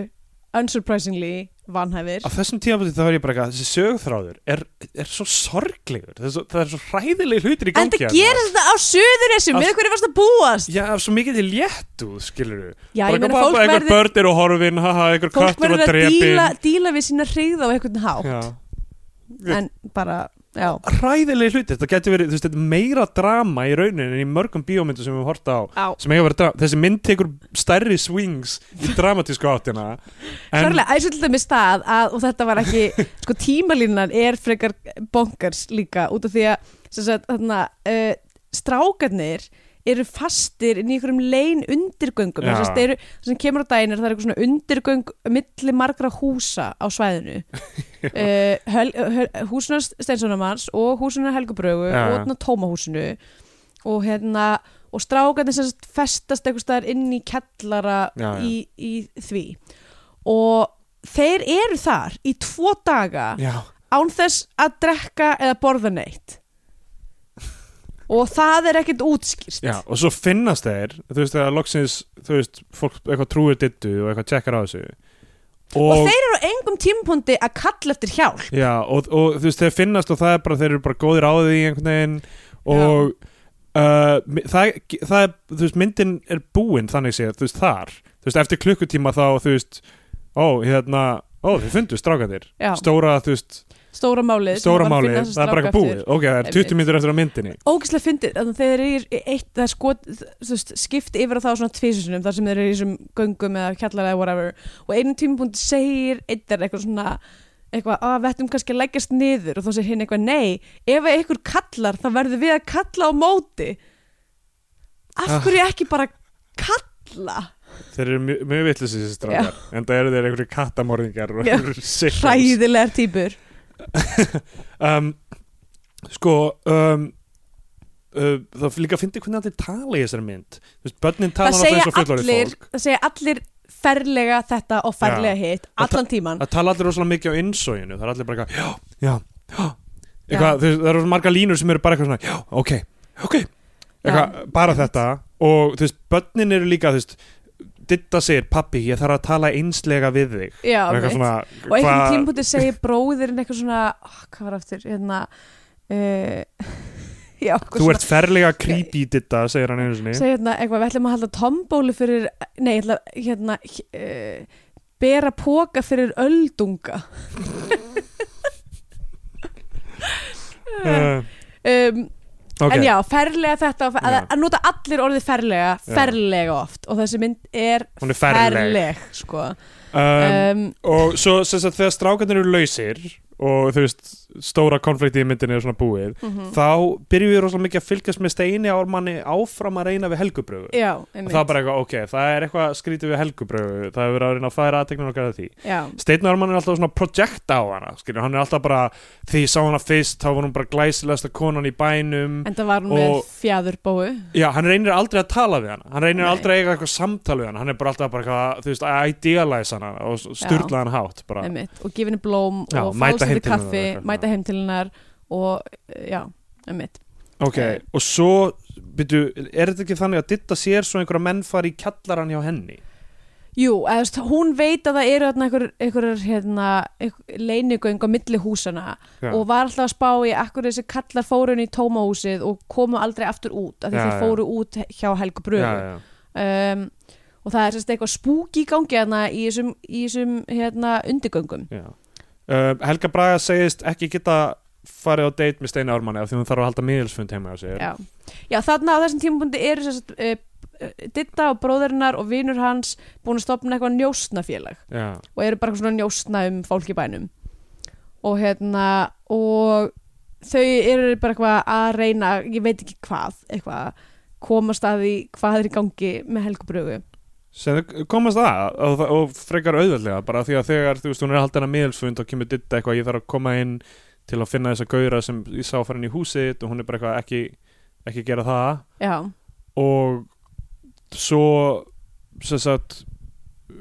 unsurprisingly vanhæfir á þessum tímafóti þá er ég bara eitthvað þessi sögþráður er, er svo sorglegur það er svo, það er svo hræðileg hlutir í en gangi það hérna. gerist þetta á suðunessu Af- með hverju varst að búast Já, af svo mikið til léttuð, skilur við já, ég Bara eitthvað meina bara fólk einhver verður börn eru horfin, haha, einhver fólk köttur verður var að díla, drepin díla við sína hrigð á einhvern hátt Já. en bara, já hræðilegi hluti, þetta getur verið þú veist, þetta er meira drama í rauninni en í mörgum bíómyndu sem við höfum horta á Á. sem eiga að vera drama, þessi mynd tekur stærri swings (laughs) í dramatísku áttina en, Klárlega, eins og til dæmis það að, og þetta var (laughs) ekki, sko tímalínan er frekar bonkars líka út af því að sem sagt, þarna, uh, strákarnir eru fastir inn í einhverjum lein undirgöngum Já. þess að þeir eru, það sem kemur á daginn er það er eitthvað svona undirgöng milli margra húsa á (laughs) svæðinu uh, húsunar Steinssonamanns og húsunar Helgubrögu Já. og þarna tómahúsinu og hérna og strákarnir sem sagt festast einhvers staðar inn í kellara Já, já. Í, í því og þeir eru þar í tvo daga já, án þess að drekka eða borða neitt og það er ekkert útskýrt já, og svo finnast þeir þú veist, þegar loksins, þú veist fólk eitthvað trúir dittu og eitthvað tjekkar á þessu og, þeir eru á engum tímpóndi að kalla eftir hjálp já, og, og þú veist, þeir finnast og það er bara, þeir eru bara góðir á því einhvern veginn og Uh, mi- það, það er, þú veist, myndin er búin þannig séð, þú veist, þar þú veist, eftir klukkutíma þá, þú veist ó, hérna, ó, þið fundu strákanir já, stóra, þú veist, stóra málið sem var stóra að máli finna þessa það er bara stráka ekki búið, ok, það er Einmitt. 20 mínútur eftir á myndinni ógæslega fyndið þannig að þeir eru í eitt það er skot, þú veist, skipt yfir á þá svona tvísusunum þar sem þeir eru í þessum göngum eða kjallara eða whatever og einum tímapunkt segir eitt er eitthvað svona eitthvað að við ættum kannski að leggjast niður og þá segir hinn eitthvað nei, ef að ykkur kallar þá verður við að kalla á móti af Ah. hverju ekki bara kalla þeir eru mjög, mjög vitlis þessi strákar en það eru þeir einhverju kattamorðingar og Já. einhverjir sickos. hræðilegar týpur um, sko um, uh, það líka fyndi hvernig allir tala í þessari mynd þú veist, börnin það tala alltaf segja eins og fullorðið allir fólk það segja allir ferlega þetta og ferlega hitt Það- allan tíman það tala allir rosalega mikið á innsóinu það er allir bara eitthvað, já, já, já eitthvað, þú veist, það eru svo margar línur sem eru bara eitthvað svona já, ok, ok eitthvað, bara þetta og þú veist, börnin eru líka, þú veist Ditta segir, pappi, ég þarf að tala einslega við þig Já, Og mitt. eitthvað svona, og einhvern hvað- tímpúti segir bróðirinn eitthvað svona oh, hvað var aftur hérna uh, (laughs) já, eitthvað Þú svona- ert ferlega creepy, Ditta, segir hann einu sinni segir hérna eitthvað við ætlum að halda tombólu fyrir nei, ég ætla, hérna uh, bera póka fyrir öldunga uh, um, Eh, Ok. En já, ferlega þetta og fer, Já. að, að nota allir orðið ferlega ferlega oft og þessi mynd er Hún er ferleg. sko. um, um, og svo sem sagt þegar strákarnir eru lausir og þú veist stóra konflikti í myndinni er svona búið Mhm. þá byrjum við rosalega mikið að fylgjast með steini ármanni áfram að reyna við helgubrögu Já, og einmitt það er bara eitthvað, ok, það er eitthvað skrítið við helgubrögu það hefur verið að reyna að færa aðteknum okkar að því Já, Steinn Arman er alltaf svona projekt á hana skilur, hann er alltaf bara, því ég sá hana fyrst þá var hún bara glæsilegasta konan í bænum en það var hún með Og- fjæðurbóu já, hann reynir aldrei að tala við hana hann reynir Nei. aldrei að eiga eitthvað samtal við hana hann er bara alltaf bara, eitthvað, þú veist, að idealize hana og styrla hann hátt bara. einmitt, og gefa henni blóm Já, og falsandi mæta heim til hennar kaffi, eitthvað svona. mæta heim til hennar og eh, já, einmitt ok, Eh. og svo byrju, er þetta ekki þannig að ditta sér svo einhverja menn fari í kjallaran hjá henni Jú, eða, þú veist, hún veit að það eru þarna einhver- einhverjar hérna, einhver leinigöng á milli húsana Já. og var alltaf að spá í akkur þessi kallar fóru inn í tómahúsið og komu aldrei aftur út af því Já, þeir já. fóru út hjá Helgu Brögu já, já. Um, og það er sérst eitthvað spúk í gangi hérna í þessum, í þessum hérna, undirgöngum Já. Uh, Helga Braga segist ekki geta farið á date með Steina Ármanni af því hún þarf að halda miðilsfund heima á sér já. já, þarna á þessum tímabundi eru sérst uh, Ditta og bróðurinnar og vinur hans búin að stopna eitthvað njósnafélag Já. og eru bara eitthvað svona að njósna um fólk í bænum og hérna og þau eru bara eitthvað að reyna ég veit ekki hvað, eitthvað komast að því hvað er í gangi með helgubrögu sem þau komast að og, og frekar auðveldlega bara því að þegar þú veist hún er haldin að miðelsfund og kemur ditta eitthvað ég þarf að koma inn til að finna þessa gauðra sem ég sá farin í húsið þitt og hún er bara eitthvað ekki, ekki gera það já, og svo sem sagt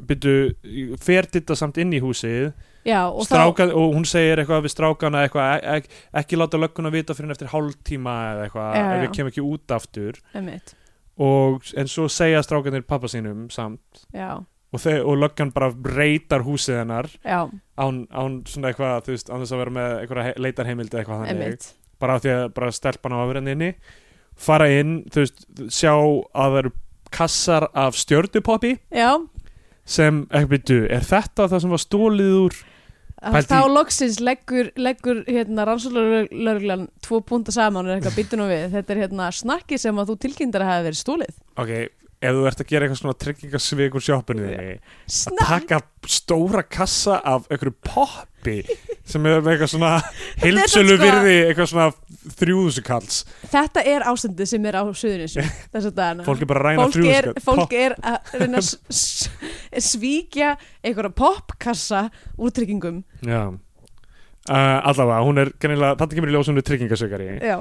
byrju, fer ditta samt inn í húsið já og og, þá- stráka, og hún segir eitthvað við strákana eitthvað, ek, ek, ekki láta lögguna vita fyrir eftir hálftíma eða eitthvað Já, ef já. við kemum ekki út aftur einmitt, og, en svo segja strákanir pappa sínum samt já, og, þau, og löggan bara breytar húsið hennar já, án, án svona eitthvað, þú veist, án þess að vera með einhverja he- leitarheimildi eitthvað þannig einmitt bara af því að bara stelpan á afrenni inni fara inn, þú veist, sjá að það eru kassar af stjörnupoppi já, sem, ekki byrju, er þetta það sem var stólið úr Pældi- þá loksins leggur, leggur hérna, rannsólarlörglan tvo púnta saman og er eitthvað býtunum við þetta er hérna snakki sem að þú tilkynntar að hafa verið stólið ok, ef þú ert að gera eitthvað svona tryggingasvik úr sjoppinu þinni að Snak, taka stóra kassa af einhverju poppi sem er með eitthvað (laughs) svona er samt heilsölu sko- virði eitthvað svona þrjúðusukalls þetta er ástandið sem er á suðunisju (laughs) þess að dagana fólk er bara að ræna fólk er, þrjúðuskall fólk er að reyna að s- s- svíkja einhverja popkassa úr tryggingum Já Uh, allavega, hún er kannilega, þetta kemur í ljós hún er tryggingasökari Já.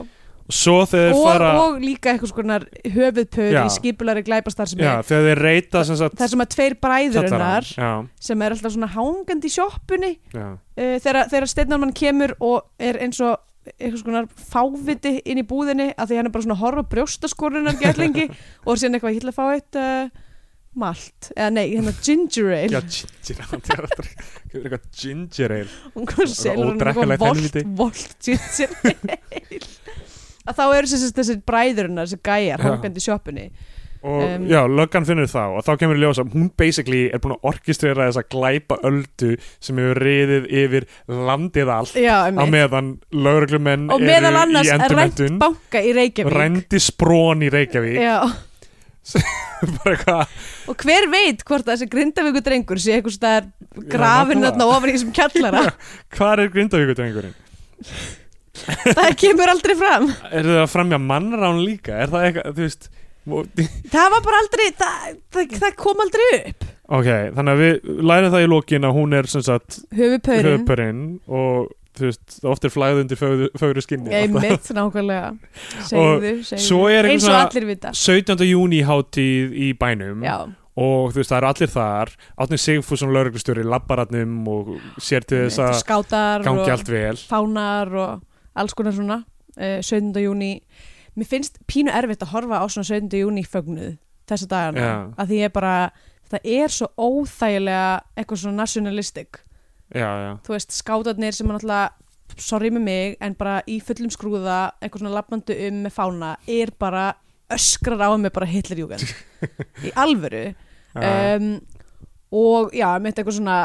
Svo þegar þeir og, fara og líka eitthvað skonar höfuðpöð Já. í skipulari glæpastar sem Já, þegar þeir reyta sem sagt þar sem að tveir bræðurinnar Já, sem er alltaf svona hangandi í sjoppunni já, uh, þegar, þegar steinarmann kemur og er eins og eitthvað svona fáviti inn í búðinni að því hann er bara svona að horfa á brjóstaskorunar (laughs) gerlingi og er síðan eitthvað ég ætla að fá eitt uh, malt eða nei, hérna ginger ale já, ginger ale (laughs) þetta er aldrei- þetta er eitthvað ginger ale (laughs) hún kom selur hann ódrekkalegt eitthvað volt, volt helvíti. ginger ale að þá eru þessi, þessi bræðurinnar þessi gæjar Já. hangandi í sjoppunni Og Um, já, löggan finnur þá og þá kemur í ljós að hún basically er búin að orkistrera þessa glæpa öldu sem hefur riðið yfir landið allt já, á einmitt. meðan lögreglumenn og meðal eru annars í rænt endurmentun banka í Reykjavík Rændi sprón í Reykjavík já (laughs) bara eitthvað Og hver veit hvort þessi grindavíku drengur sé eitthvað staðar grafin nákvæmlega. þarna ofan í þessum (laughs) kjallara Hvar er grindavíkutengurinn? það kemur aldrei fram Er það að framja mannrán líka? Er það eitthvað, þú veist og- það var bara aldrei, það, það, það kom aldrei upp Ok, þannig að við lærum það í lokin að hún er sem sagt höfupörin, höfupurinn og þú veist, oft er flæð undir fögru, fögru skinni einmitt (laughs) nákvæmlega Og segðu, segðu, Svo er eins eitthvað og svona Mm. allir vita 17. júni hátíð í bænum já, og þú veist, það eru allir þar Átni Sigfússon lauruglustjóri labbaratnum um og sér til þess einmitt, að skátar gangi og allt vel fánar og alls konar svona uh, 17. júni mér finnst pínu erfitt að horfa á svona 17. júni fögnuð þessa dagana Já. að því ég bara, það er svo óþægilega eitthvað svona nationalistic Já, já, þú veist, skátarnir sem er náttúrulega sorry með mig, en bara í fullum skrúða eitthvað svona lappandi um með fána er bara (laughs) öskrar á mig bara Hitlerjúgan í alvöru já. um, og já, mitt eitthvað svona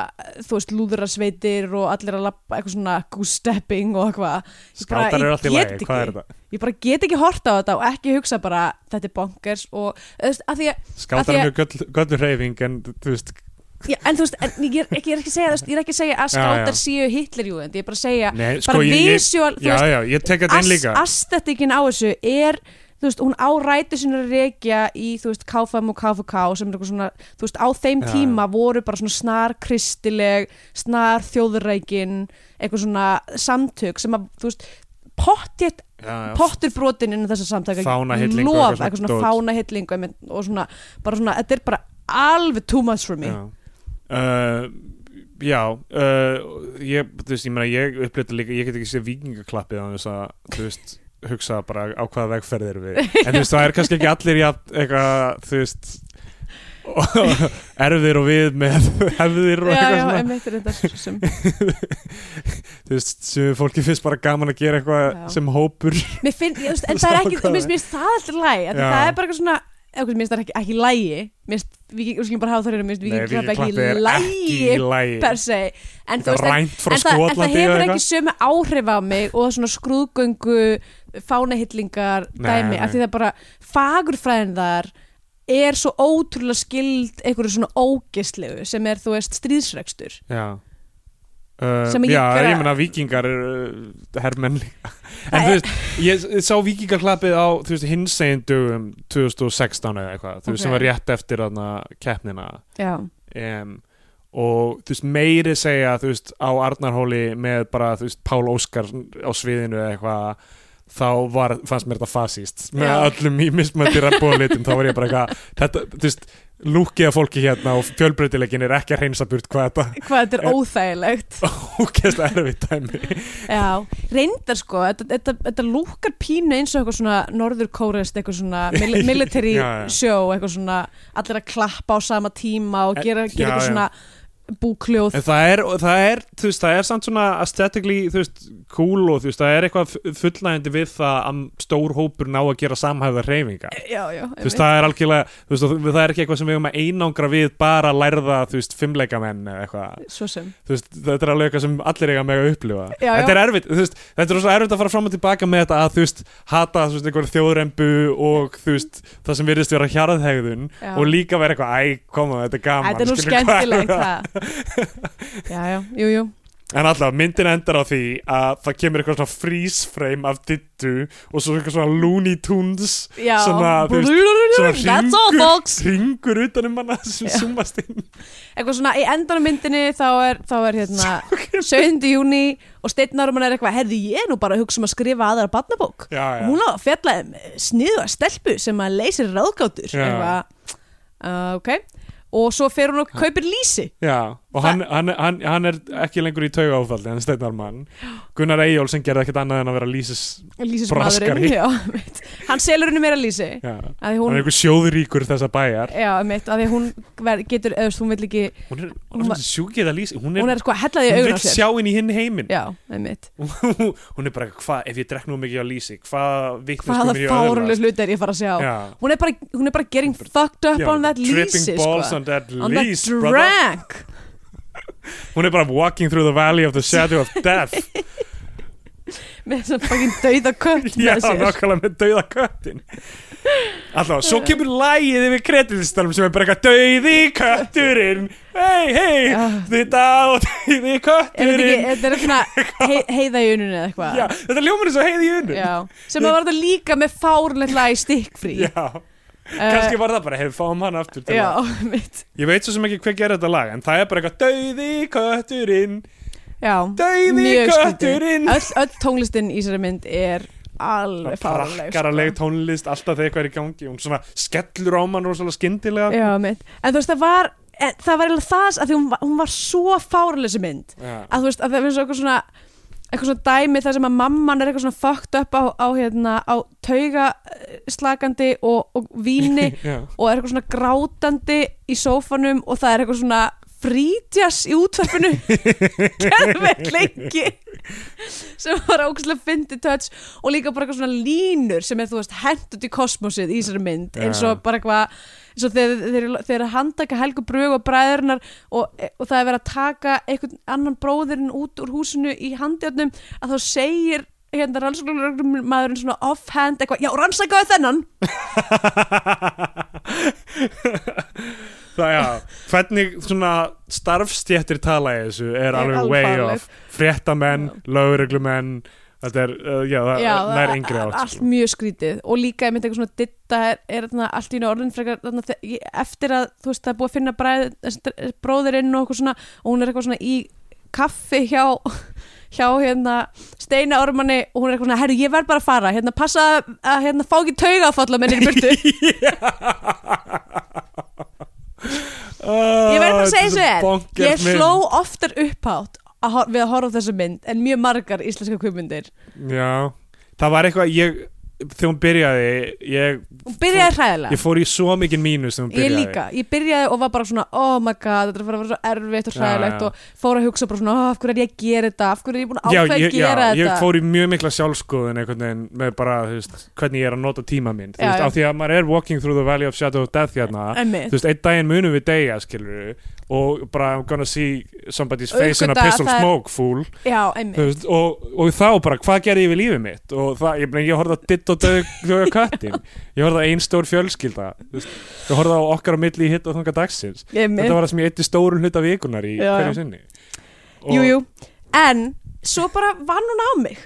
þú veist, lúðrarsveitir og allir að lappa eitthvað svona goose-stepping og eitthvað Ég bara- Skátar ég eru alltaf í get lagi, ekki. hvað er þetta? ég bara get ekki horta á þetta og ekki hugsa bara þetta er bonkers og þú veist, að því að Af því Skátar að- er mjög göll- göllur reyfing en þú veist, Já, en þú veist, en ég er ekki, ég er ekki að segja þú veist, ég er ekki að segja að Já, já. skátar séu hitlerjúðend, ég er bara að segja nei, bara sko ég, ég visual, þú Já, veist já, ég tek þetta inn as- líka aestheticin á þessu er þú veist, hún á rætu sinna að rekja í, þú veist, KFM og KFK sem er eitthvað svona, þú veist, á þeim Já, já. tíma voru bara svona snar kristileg snar þjóðurreikin eitthvað svona samtök sem að, þú veist, pottjett Já, já. pottur brotin innan þessa samtaka Fánahyllingu og lof, eitthvað eitthvað svona svona dót. fánahyllingu einmitt, og svona, bara svona, þetta er bara alveg too much for me Já, uh, já uh, ég, þú veist, ég meina ég upplýta líka, ég get ekki séð vikingaklappið á þess að, þú veist, hugsa bara á hvaða vegferð (laughs) erum við en þú veist, það er kannski ekki allir jafn eitthvað, þú veist (laughs) erfðir og við með (laughs) hefðir og já, eitthvað já, svona einmitt er þetta svo (laughs) sem þú veist, sem fólki finnst bara gaman að gera eitthvað Já. sem hópur Mér finn, ég, þú veist, en Sama það er ekki, hvað mér finnst- mér finnst það alltaf læg Já. það er bara eitthvað svona eða hvað, mér finnst það ekki, ekki lægi mér finnst, við skulum bara hafa það reyna mér Nei, finnst Víking víkingaklappið Klapp er ekki ekki í lagi lægi per se en, þú veist, það en, rænt frá en, það, en það Skotlandi hefur og ekki eitthvað sömu áhrif á mig og svona skrúðgöngu fánahillingar Nei, dæmi nei. af því það bara fagurfræðin þar er svo ótrúlega skild einhverju svona ógislegu sem er þú veist stríðsrekstur já Uh, Sem ég já, gera- ég meina vikingar er uh, herrmenn (laughs) líka en Það þú er- veist, ég s- sá vikingarklappið á þú veist, hinsegin dögum 2016 eða eitthvað, þú veist, sem Ok. var rétt eftir þarna keppnina já, um, og þú veist, meiri segja, þú veist, á Arnarhóli með bara, þú veist, Pál Óskar á sviðinu eða eitthvað þá var, fannst mér þetta fasíst með Já. öllum í mismöndir að búa litum þá var ég bara eitthvað, þetta, þú veist lúkið af fólki hérna og fjölbreytilegin er ekki að reynsa burt hvað þetta hvað þetta En- er óþægilegt (laughs) ógeðslega erfitt dæmi Já, reyndar sko, þetta, þetta, þetta lúkar pínu eins og eitthvað svona norður kórest, eitthvað svona mil- military (laughs) Já, já. show, eitthvað svona allir að klappa á sama tíma og Eh, gera, já, gera eitthvað já. svona búkljóð. En það er, og það er, þú veist, það er samt svona aesthetically, þú veist, cool og þú veist, það er eitthvað fullnægandi við það að stór hópur ná að gera samhæfða reyfinga. Já, já, Þú veist, einmitt. það er algjörlega, þú veist, og það er ekki eitthvað sem við höfum að einangra við bara að lærða, þú veist, fimmleikamenn eða eitthvað. svo sem. Þú veist, þetta er alveg eitthvað sem allir eiga mega að upplifa. Já, já. Þetta er erfitt, þú veist, þetta er svo erfitt að fara fram og tilbaka með þetta að, þú veist, hata, þú veist, einhver þjóðrembu og, þú veist, það sem virðist vera hjarðhegðun Já. og líka vera eitthvað, æ, koma, þetta er gaman. Þetta er nú skilur, hvað skemmtilegt (laughs) það. Já, já, jú, jú. En alltaf, myndin endar á því að það kemur eitthvað svona freeze frame af dittu og svo eitthvað svona Looney Tunes Já, Svona, þú veist, svona that's all hringur- folks. ringur utan um hana sem Já. zoomast inn eitthvað svona í endanum myndinni þá er, þá er hérna (laughs) 7. júni og steinnarumann er eitthvað herði ég er nú bara að hugsa um að skrifa aðra barnabók Já, já. hún á að fjalla um sniðu að stelpu sem að leysir ráðgátur Já. eitthvað uh, ok og svo fer hún og kaupir lýsi Já, og hann, hann, hann, hann er ekki lengur í tauga áfaldi, hann steinar mann Gunnar Eyjól sem gerði ekkert annað en að vera lýsis lýsismadurinn Braskari. já, einmitt. hann selur henni meira lýsi Já, hann að því er hún einhver sjóðuríkur þessa bæjar já, mitt, að því hún ver, getur eða þú veist, hún vil ekki Hún er, Hún hún var- er sjúkið að lýsa, hún er, hún er sko að hella því hún augun á vill sér sjá inn í hinn heiminn já, einmitt (laughs) Hún er bara, hvað, ef ég drekk nú mikið á lýsi, hvað vitniskum hvaða er ég að fárunlega öðlast? hluti er ég að fara að sjá Já. hún er bara, hún er bara getting fucked up Já, on that tripping lýsi balls sko. on that on lease, that brother. drank hún er bara walking through the valley of the shadow of (laughs) death með þessan fucking dauða (laughs) kött já, með sér nákvæmlega með dauða köttin alltaf, svo kemur lægið yfir kredilstalum sem er bara eitthvað dauði kötturinn hei, hei, Já. þetta og dauði er þetta ekki, kötturinn þetta er (laughs) svona hei, heiða í ununni eða eitthvað já, þetta ljómar eins og heiði í unnu Já. sem að var þetta líka með fárunlega lag í stikkfrí kannski var það bara, hefur fáum hann aftur til Eh. já, (laughs) að- mitt ég veit svo sem ekki hver gerir þetta lag en það er bara eitthvað dauði kötturinn já, Dauði mjög kötturinn. skrítið öll, öll tónlistin í þessari mynd er alveg sko. fárunlega prakkaraleg tónlist alltaf þegar eitthvað er í gangi hún svona skellur á mann rosalega skyndilega já, mitt en þú veist það var en, það var eiginlega það að því hún var, hún var svo fárunlega þessi mynd Já. að þú veist að það finnst eitthvað svona eitthvað svona dæmi þar sem að mamman er eitthvað svona fucked up á, á hérna á tauga eh, slakandi og, og víni (laughs) Já. og er eitthvað svona grátandi í sófanum og það er eitthvað svona frítjas í (laughs) útvarpinu gerðum við lengi sem var ógæslega fyndi touch og líka bara eitthvað svona línur sem er þú veist hent út í kosmosið í þessari mynd Já. eins og bara eitthvað eins og þeir, þeir, þeir eru að handtaka Helgu Brug og bræðurnar og, og það er verið að taka einhvern annan bróðurinn út úr húsinu í handjörnum að þá segir hérna rannsóknarmaðurinn svona offhand eitthvað, já rannsakaðu þennan Það já, hvernig svona starfstjættir tala í þessu er Er alveg alveg way farlegt. off Fréttamenn, lögreglumenn þetta er, uh, já, það Já, það er yngri allt átt sko. mjög skrítið og líka ég myndi eitthvað svona ditta er, er þarna allt í einu orðin frekar þarna, þe- ég- eftir að þú veist það er búið að finna bræð, þessi dr- bróðirinn og eitthvað svona og hún er eitthvað svona í kaffi hjá hjá hérna Steina Ormanni og hún er eitthvað svona, herru ég verð bara að fara hérna passa að hérna fá ekki taugafall á minni í (laughs) burtu, Ah, ég verð bara að segja þetta þessu er er bonkers ég mynd. sló oftar upphátt að hor- við að horfa á þessa mynd en mjög margar íslenska kvipmyndir Já, það var eitthvað ég, þegar hún byrjaði ég, og byrjaði hræðilega ég fór í svo mikið mínus þegar hún Ég byrjaði líka, ég byrjaði og var bara svona oh my god, þetta er að fara að vera svo erfitt og Já, hræðilegt já. og fór að hugsa bara svona oh, af hverju er ég að gera þetta, af hverju er ég búin að Já, ákveða ég, að já, gera ég þetta fór í mjög mikla sjálfskoðun einhvern veginn með bara, þú veist, hvernig ég er að nota tíma minn, þú Já, veist, já. af því að maður er walking through the valley of shadow of death hérna Einmitt. þú veist, einn daginn munum við deyja, skilur og bara, I'm gonna see somebody's face in a Uppgöta að pistol það er- smoke, fool já, Þú einmitt veist, og, og þá bara, hvað gerði ég við lífið mitt og það, ég, meina, ég horfði á ditt og döðu köttin, ég horfði á ein stór fjölskylda þú veist, ég horfði á okkar á milli hitt og þunga dagsins, þetta einmitt, var það sem ég eitti stórun hluta vikunar í Já, hverju já. sinni jú, jú en svo bara vann hún á mig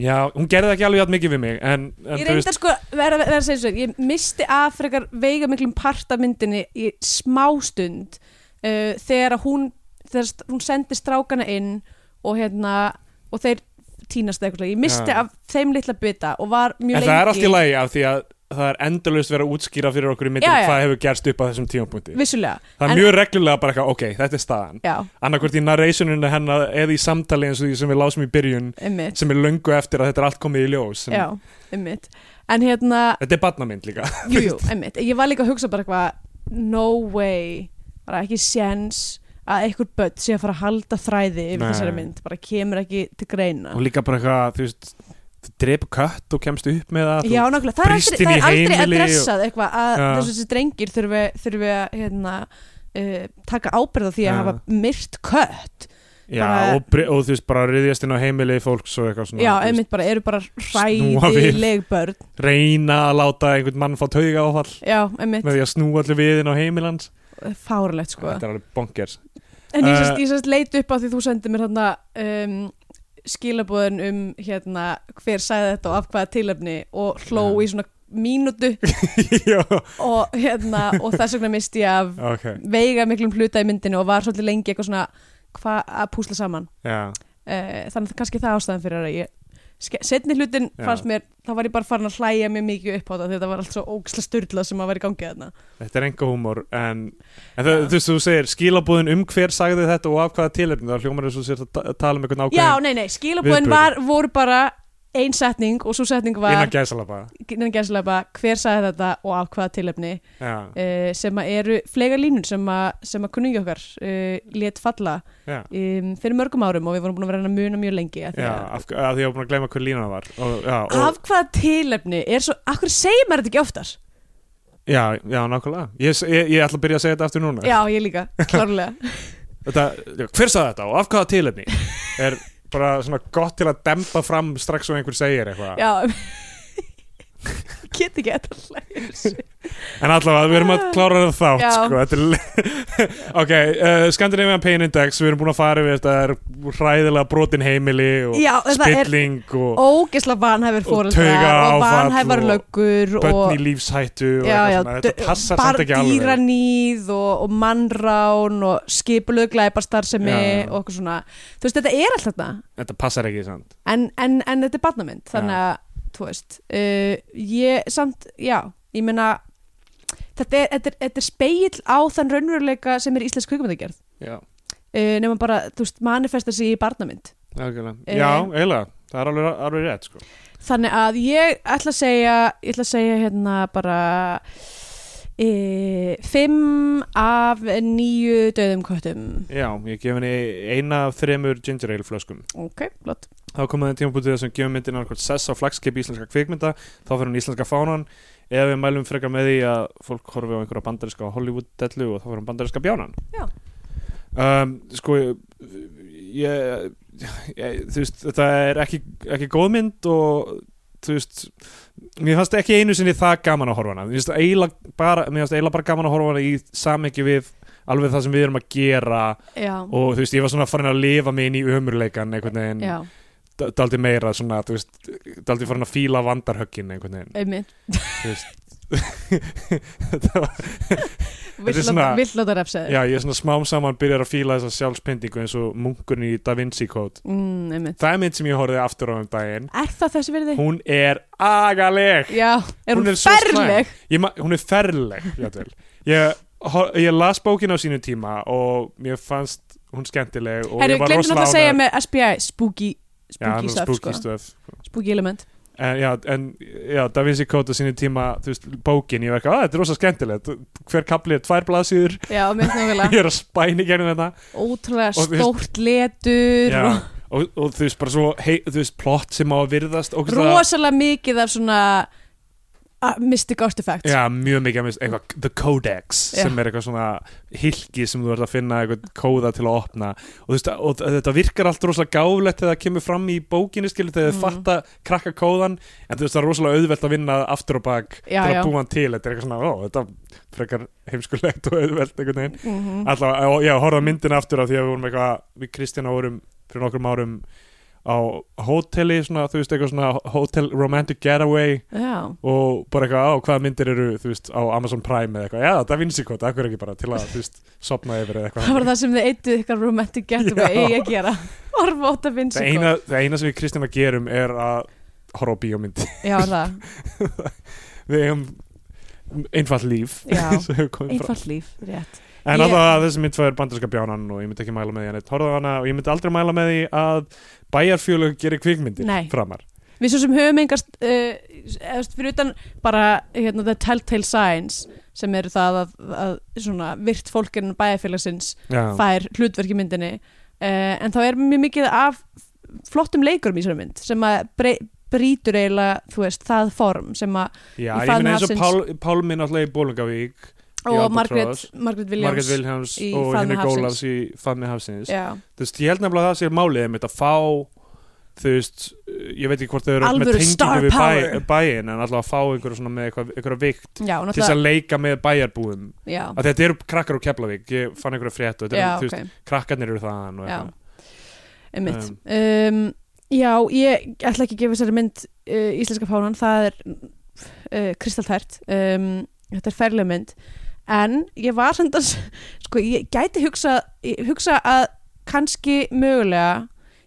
já, hún gerði ekki alveg játn mikið við mig en, en ég þú reyndar sko, verða verð að segja svo ég misti af frekar veiga miklum partamyndinni í smástund uh, þegar að hún þegar st- hún sendi strákana inn og hérna, og þeir týnast eða eitthvað, ég misti Já. af þeim litla bita og var mjög en lengi það er allt í lagi af því að það er endalaust verið að útskýra fyrir okkur í myndin Já, já. hvað hefur gerst upp á þessum tímapunkti vissulega það er en- mjög reglulega bara eitthvað, ok, þetta er staðan Já, annarkvort í narrationinu hennar eða í samtali eins og því sem við lásum í byrjun einmitt sem er löngu eftir að þetta er allt komið í ljós sem, Já, einmitt En hérna, þetta er barnamynd líka jú, jú, einmitt Ég var líka að hugsa bara eitthvað No way, bara ekki séns að einhver börn sé að fara að halda þræði yfir Nei. þessari mynd, bara kemur ekki til greina (laughs) og líka bara eitthvað, þú veist þú drepa kött og kemst upp með það Já, nákvæmlega, það er brýst aldrei, inn það í er aldrei heimili og- adressað eitthvað að Já. þessu þessi drengir þurfi, þurfi að hérna, uh, taka ábyrða því að Já. hafa myrt kött já, bara- og, bri- og þú veist bara riðjast inn á heimili fólks og eitthvað svona Já, þú veist, einmitt bara, eru bara Snúa við. hræðileg börn reyna að láta einhvern mann fá tauga áfall Já, einmitt, með því að snúa allir við inn á heimilans fárlegt sko þetta er alveg (laughs) bonkers En ég Eh, sérst, ég sérst leit upp á því þú sendið mér hérna um, skilabóðin um hérna hver sagði þetta og af hvaða tilefni og hló Já. í svona mínútu já, og hérna og þess vegna misti ég af ok, veiga miklum hluta í myndinu og var svolítið lengi eitthvað svona hvað að púsla saman já uh, þannig að kannski það ástæðan fyrir að ég setni hlutin Já. fannst mér þá var ég bara farin að hlæja mjög mikið upp á þetta því þetta var allt svo ógislega styrla sem að vera í gangi þarna þetta er enga húmor en, en það, þú veist, þú segir skilabúðin um hver sagði þetta og af hvaða tilefni það hljómar eins og þú sér að ta- tala um einhvern Já, ákveðin nei, nei, skilabóðin Viðburður. var, voru bara ein setning og svo setning var innan gæsalapa innan gæslega bara hver sagði þetta og af hvaða tilefni já, uh, sem að eru flega línur sem að, sem að kunningi okkar uh, let falla já um, fyrir mörgum árum og við vorum búin að vera að reyna að muna mjög lengi af því Já, að, af, af því að ég var búin að gleyma hver lína það var og, já, og, af hvaða tilefni er svo, af hverju segir maður þetta ekki oftar já, já, nákvæmlega ég, ég, ég ætla að byrja að segja þetta aftur núna já, ég (laughs) líka, klárlega þetta, já, Hver sagði þetta og af hvaða tilefni er bara svona gott til að dempa fram strax og einhver segir eitthvað já (laughs) get ekki þetta hlægir En allavega, við erum að klára það þátt Já. sko, þetta er le- (laughs) Ok, uh, Scandinavian Pain Index Við erum búin að fara yfir þetta það er hræðilega brotin heimili og Já, það er- spilling og ógisla vanhæfur Og fóreldrar taugaáfall og vanhæfar og löggur og börn í lífshættu og já, eitthvað já, svona. Þetta passar samt ekki alveg dýranýð og, og mannrán og skipulög glæparstarfsemi Já, já. og okkur svona þú veist, þetta er allt þarna Þetta passar ekki samt en, en, en þetta er barnamynd þannig að, þú veist uh, ég samt, já, ég meina þetta er, þetta er, þetta er speill á þann raunveruleika sem er íslensk kvikmyndagerð Já, uh, nema bara, þú veist, manifesta sig í barnamynd algjörlega Eh. Já, eiginlega, það er alveg, alveg rétt sko. Þannig að ég ætla að segja, ég ætla að segja hérna bara, e, Fimm af nýju döðum köttum Já, ég gef henni eina af þremur ginger ale flöskum Ok, blott þá komaði tímabútið þessum gefum myndin annarkvæmt sess á flagskip íslenska kvikmynda þá fyrir hann íslenska fánan eða við mælum frekar með því að fólk horfi á einhverja bandarinska Hollywood-dellu og þá fyrir hann bandarinska bjánan Já. um, Sko ég, ég, ég þú veist, þetta er ekki, ekki góð mynd og þú veist mér fannst ekki einu sinni það gaman að horfa hana mér fannst eiginlega bara, mér fannst eiginlega bara gaman að horfa hana í samhengi við alveg það sem við erum að gera Já, og þú veist, ég var svona farin að lifa mig inn í ömurleikan einhvern veginn já, daldi meira svona, þú veist, daldi farin að fíla vandarhöggin einhvern veginn, einmitt þú veist (laughs) Þetta var- er Vill svona- láta- vill láta refsaði já, ég er svona smám saman byrjar að fíla þessa sjálfspendingu eins og munkurinn í Da Vinci Code mm, Einmitt það er mynd sem ég horfði aftur á um daginn Er það þessi virði? hún er agaleg Já, er hún, Hún hún er svo slæm. ferleg? ég, ma- hún er ferleg jafnvel. ég, hor- ég las bókin á sínu tíma og mér fannst hún skemmtileg og Herru, ég var glemdu rosalega náttúrulega að segja ánægð- með SPI Spooky, já, hann spooky er stuff, spooky sko stuff Spooky element En, já, en já, Da Vinci Code á sínu tíma, þú veist, bókin, ég verka, að þetta er rosa skemmtilegt, hver kapli er tvær blaðsýður, Já, mitt (laughs) náttúrulega ég er að spæni gerum þetta Ótrúlega Og þú veist- stórt letur já, og og, og þú veist, bara svo, hei, þú veist, plott sem á að virðast og rosalega mikið af svona uh, mystic artifacts Já, mjög mikið að minnst, eitthvað, The Codex Já. sem er eitthvað svona hilki sem þú ert að finna eitthvað kóða til að opna og, þú veist, og þetta virkar allt rosalega gáflegt þegar það kemur fram í bókinu skilur þegar þau Mm. fatta krakka kóðan en þú veist það er rosalega auðvelt að vinna aftur og bak Já, til að já. búa hann til, þetta er eitthvað svona ó, þetta frekar heimskulegt og auðvelt einhvern veginn Mhm. Alltaf, og já, horfða myndin aftur af því að við vorum eitthvað, við Kristjana vorum fyrir nokkrum árum á hóteli, svona, þú veist, eitthvað svona hótel romantic getaway já. og bara eitthvað á hvaða myndir eru, þú veist, á Amazon Prime eða eitthvað, já, það finnst ég hvað, akkur ekki bara til að, þú veist, sopna yfir (laughs) það eða var eitthvað. það sem þið eittu ykkar romantic getaway Já. eigi að gera (laughs) orfa ótt að vinsa Það eina, það eina sem við Kristjana gerum er að horfa á bíómyndi. já, er það, (laughs) Við eigum einfalt líf. Já, (laughs) sem hefur komið fram. einfalt líf, rétt En Ég- alltaf að þessi mynd var bandarska bjánan og ég myndi ekki mæla með því hann eitt horfða á hana og ég myndi aldrei mæla með því að bæjarfjölug gerir kvikmyndir Nei. framar. við svo sem höfum engast uh, eða, þú veist, fyrir utan bara hérna, the telltale signs sem eru það að, að svona virt fólkinn bæjarfélagsins Já, fær hlutverk í myndinni uh, en þá er mjög mikið af flottum leikurum í þessari mynd sem að brey, brýtur eiginlega þú veist, það form sem að Já í ég faðmi myndi eins og hafsins. Pál, Pálmi náttúrulega í Bólungavík, og Albatross. Margaret, Margaret Williams Margaret Wilhelms í og faðmi henni hafsins. Gólas í Fanni Hafsins. Já, Þú veist, ég held nefnilega að það sé málið einmitt að fá, þú veist, ég veit ekki hvort þau eru Alvöru með star tengingu við power. bæ, bæin en alltaf að fá einhverja svona með eitthvað, einhverja vikt já, og til þess náttúrulega að leika með bæjarbúum. já, Að þetta eru krakkar úr Keflavík, ég fann einhverja frétt og þetta já, eru, þú ok, veist, krakkarnir eru þaðan og Já. eitthvað. einmitt um, Já, ég ætla ekki að gefa þessari mynd uh, Íslenska fánan, það er uh, kristaltært um, Þetta er ferlega mynd En ég var samt að (laughs) sko, ég gæti hugsa, ég hugsa að kannski mögulega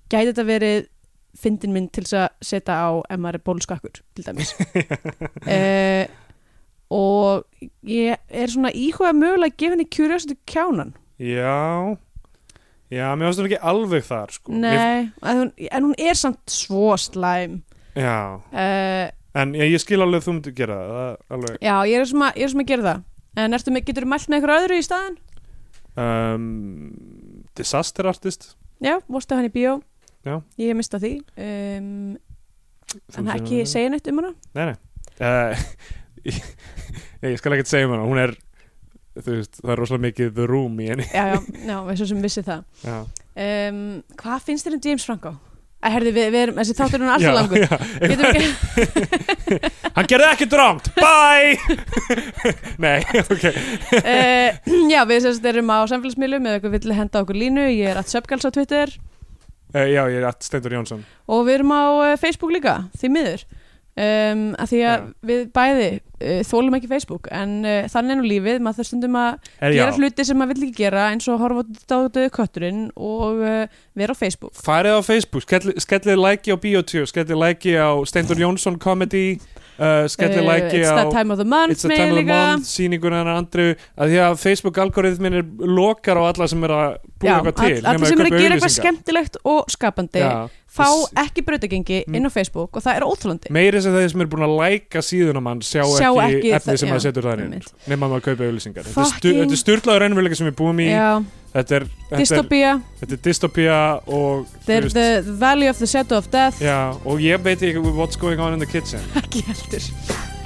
gæti þetta verið fyndin mynd til þess að setja á ef maður er bóluskakkur til dæmis uh, og ég er svona íhuga mögulega að gefa henni curiosity kjánan Já Já, mér finnst hún ekki alveg þar sko. mér, Nei, að hún, en hún er samt svo slæm Já, uh, en ég, ég skil alveg að þú myndir gera það, það alveg. Já, ég er svona, ég er svona að gera það En ertu með, getur þú mælt með eitthvað öðru í staðan? Um, disaster artist Já, vorstu hann í bíó Já. Ég hef mistað því um, En ekki segja neitt um hana Nei, nei uh, ég, (laughs) ég skal ekkert segja um hana Hún er, þú veist, það er rosalega mikið The Room í henni Já, já, já, við svo sem vissi það Já, um, Hvað finnst þér um James Franco? Æ, herði, við, við erum, þessi þáttur hún já, alltaf langur já. Getum við (laughs) Hann gerði ekkert drangt, bye (laughs) Nei, ok uh, Já, við sérst erum á samfélagsmiðlum Ef eitthvað vill henda okkur línu Ég er að söpgals á Twitter uh, Já, ég er að Steindur Jónsson og við erum á eh, Facebook líka, því miður um, að því að Já. við bæði uh, þólum ekki Facebook en uh, þannig er nú lífið, maður þarf stundum að er, gera hluti sem maður vill ekki gera eins og horfa á dátuðu kötturinn og uh, vera á Facebook farið á Facebook, skellið skelli like á Biotjó, skellið like á Steindur Jónsson Comedy uh, skellið Eh, like It's that á time of the month It's a megin time of the líka. month, sýninguna hennar andru að því að Facebook algoritmin er lokar á alla sem er að búa Já, eitthvað til all- allir sem er að gera eitthvað skemmtilegt og skapandi Já, fá Þess- ekki brautagengi Mm. inn á Facebook og það er óþólandi meiri sem þeir sem eru búin að læka síðuna mann sjá, Sjá ekki ekki efni það- sem já, maður setur það inn einmitt. nema maður kaupa auðlýsingar þetta er stu- Fucking- þetta er styrlaður ennveruleika sem við búum í Já, þetta er, þetta er, dystopía, þetta er dystopía og þú the, the value of the shadow of death já, og ég veit ekki what's going on in the kitchen (laughs) ekki heldur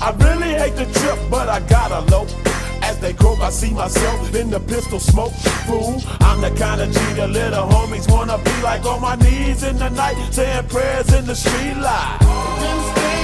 I really hate the trip, but I gotta low. As they croak, I see myself in the pistol smoke. Fool, I'm the kind of G the little homies wanna be like on my knees in the night, saying prayers in the street light.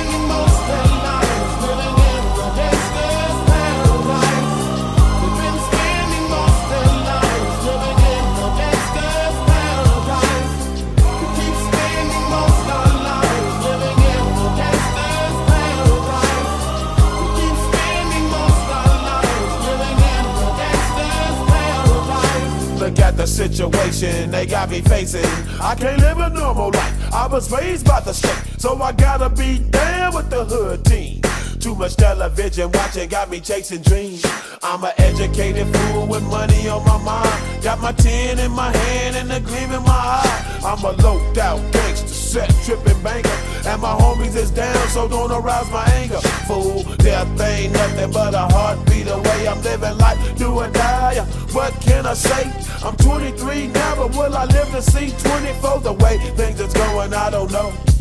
Look at the situation they got me facing. I can't live a normal life. I was raised by the state, so I gotta be down with the hood team. Too much television watching got me chasing dreams. I'm an educated fool with money on my mind. Got my tin in my hand and a gleam in my eye. I'm a low out gangster, set tripping banker. And my homies is down, so don't arouse my anger. Fool, death ain't nothing but a heartbeat away. I'm living life, do or die. What can I say? I'm 23 now, but will I live to see 24? The way things is going, I don't know.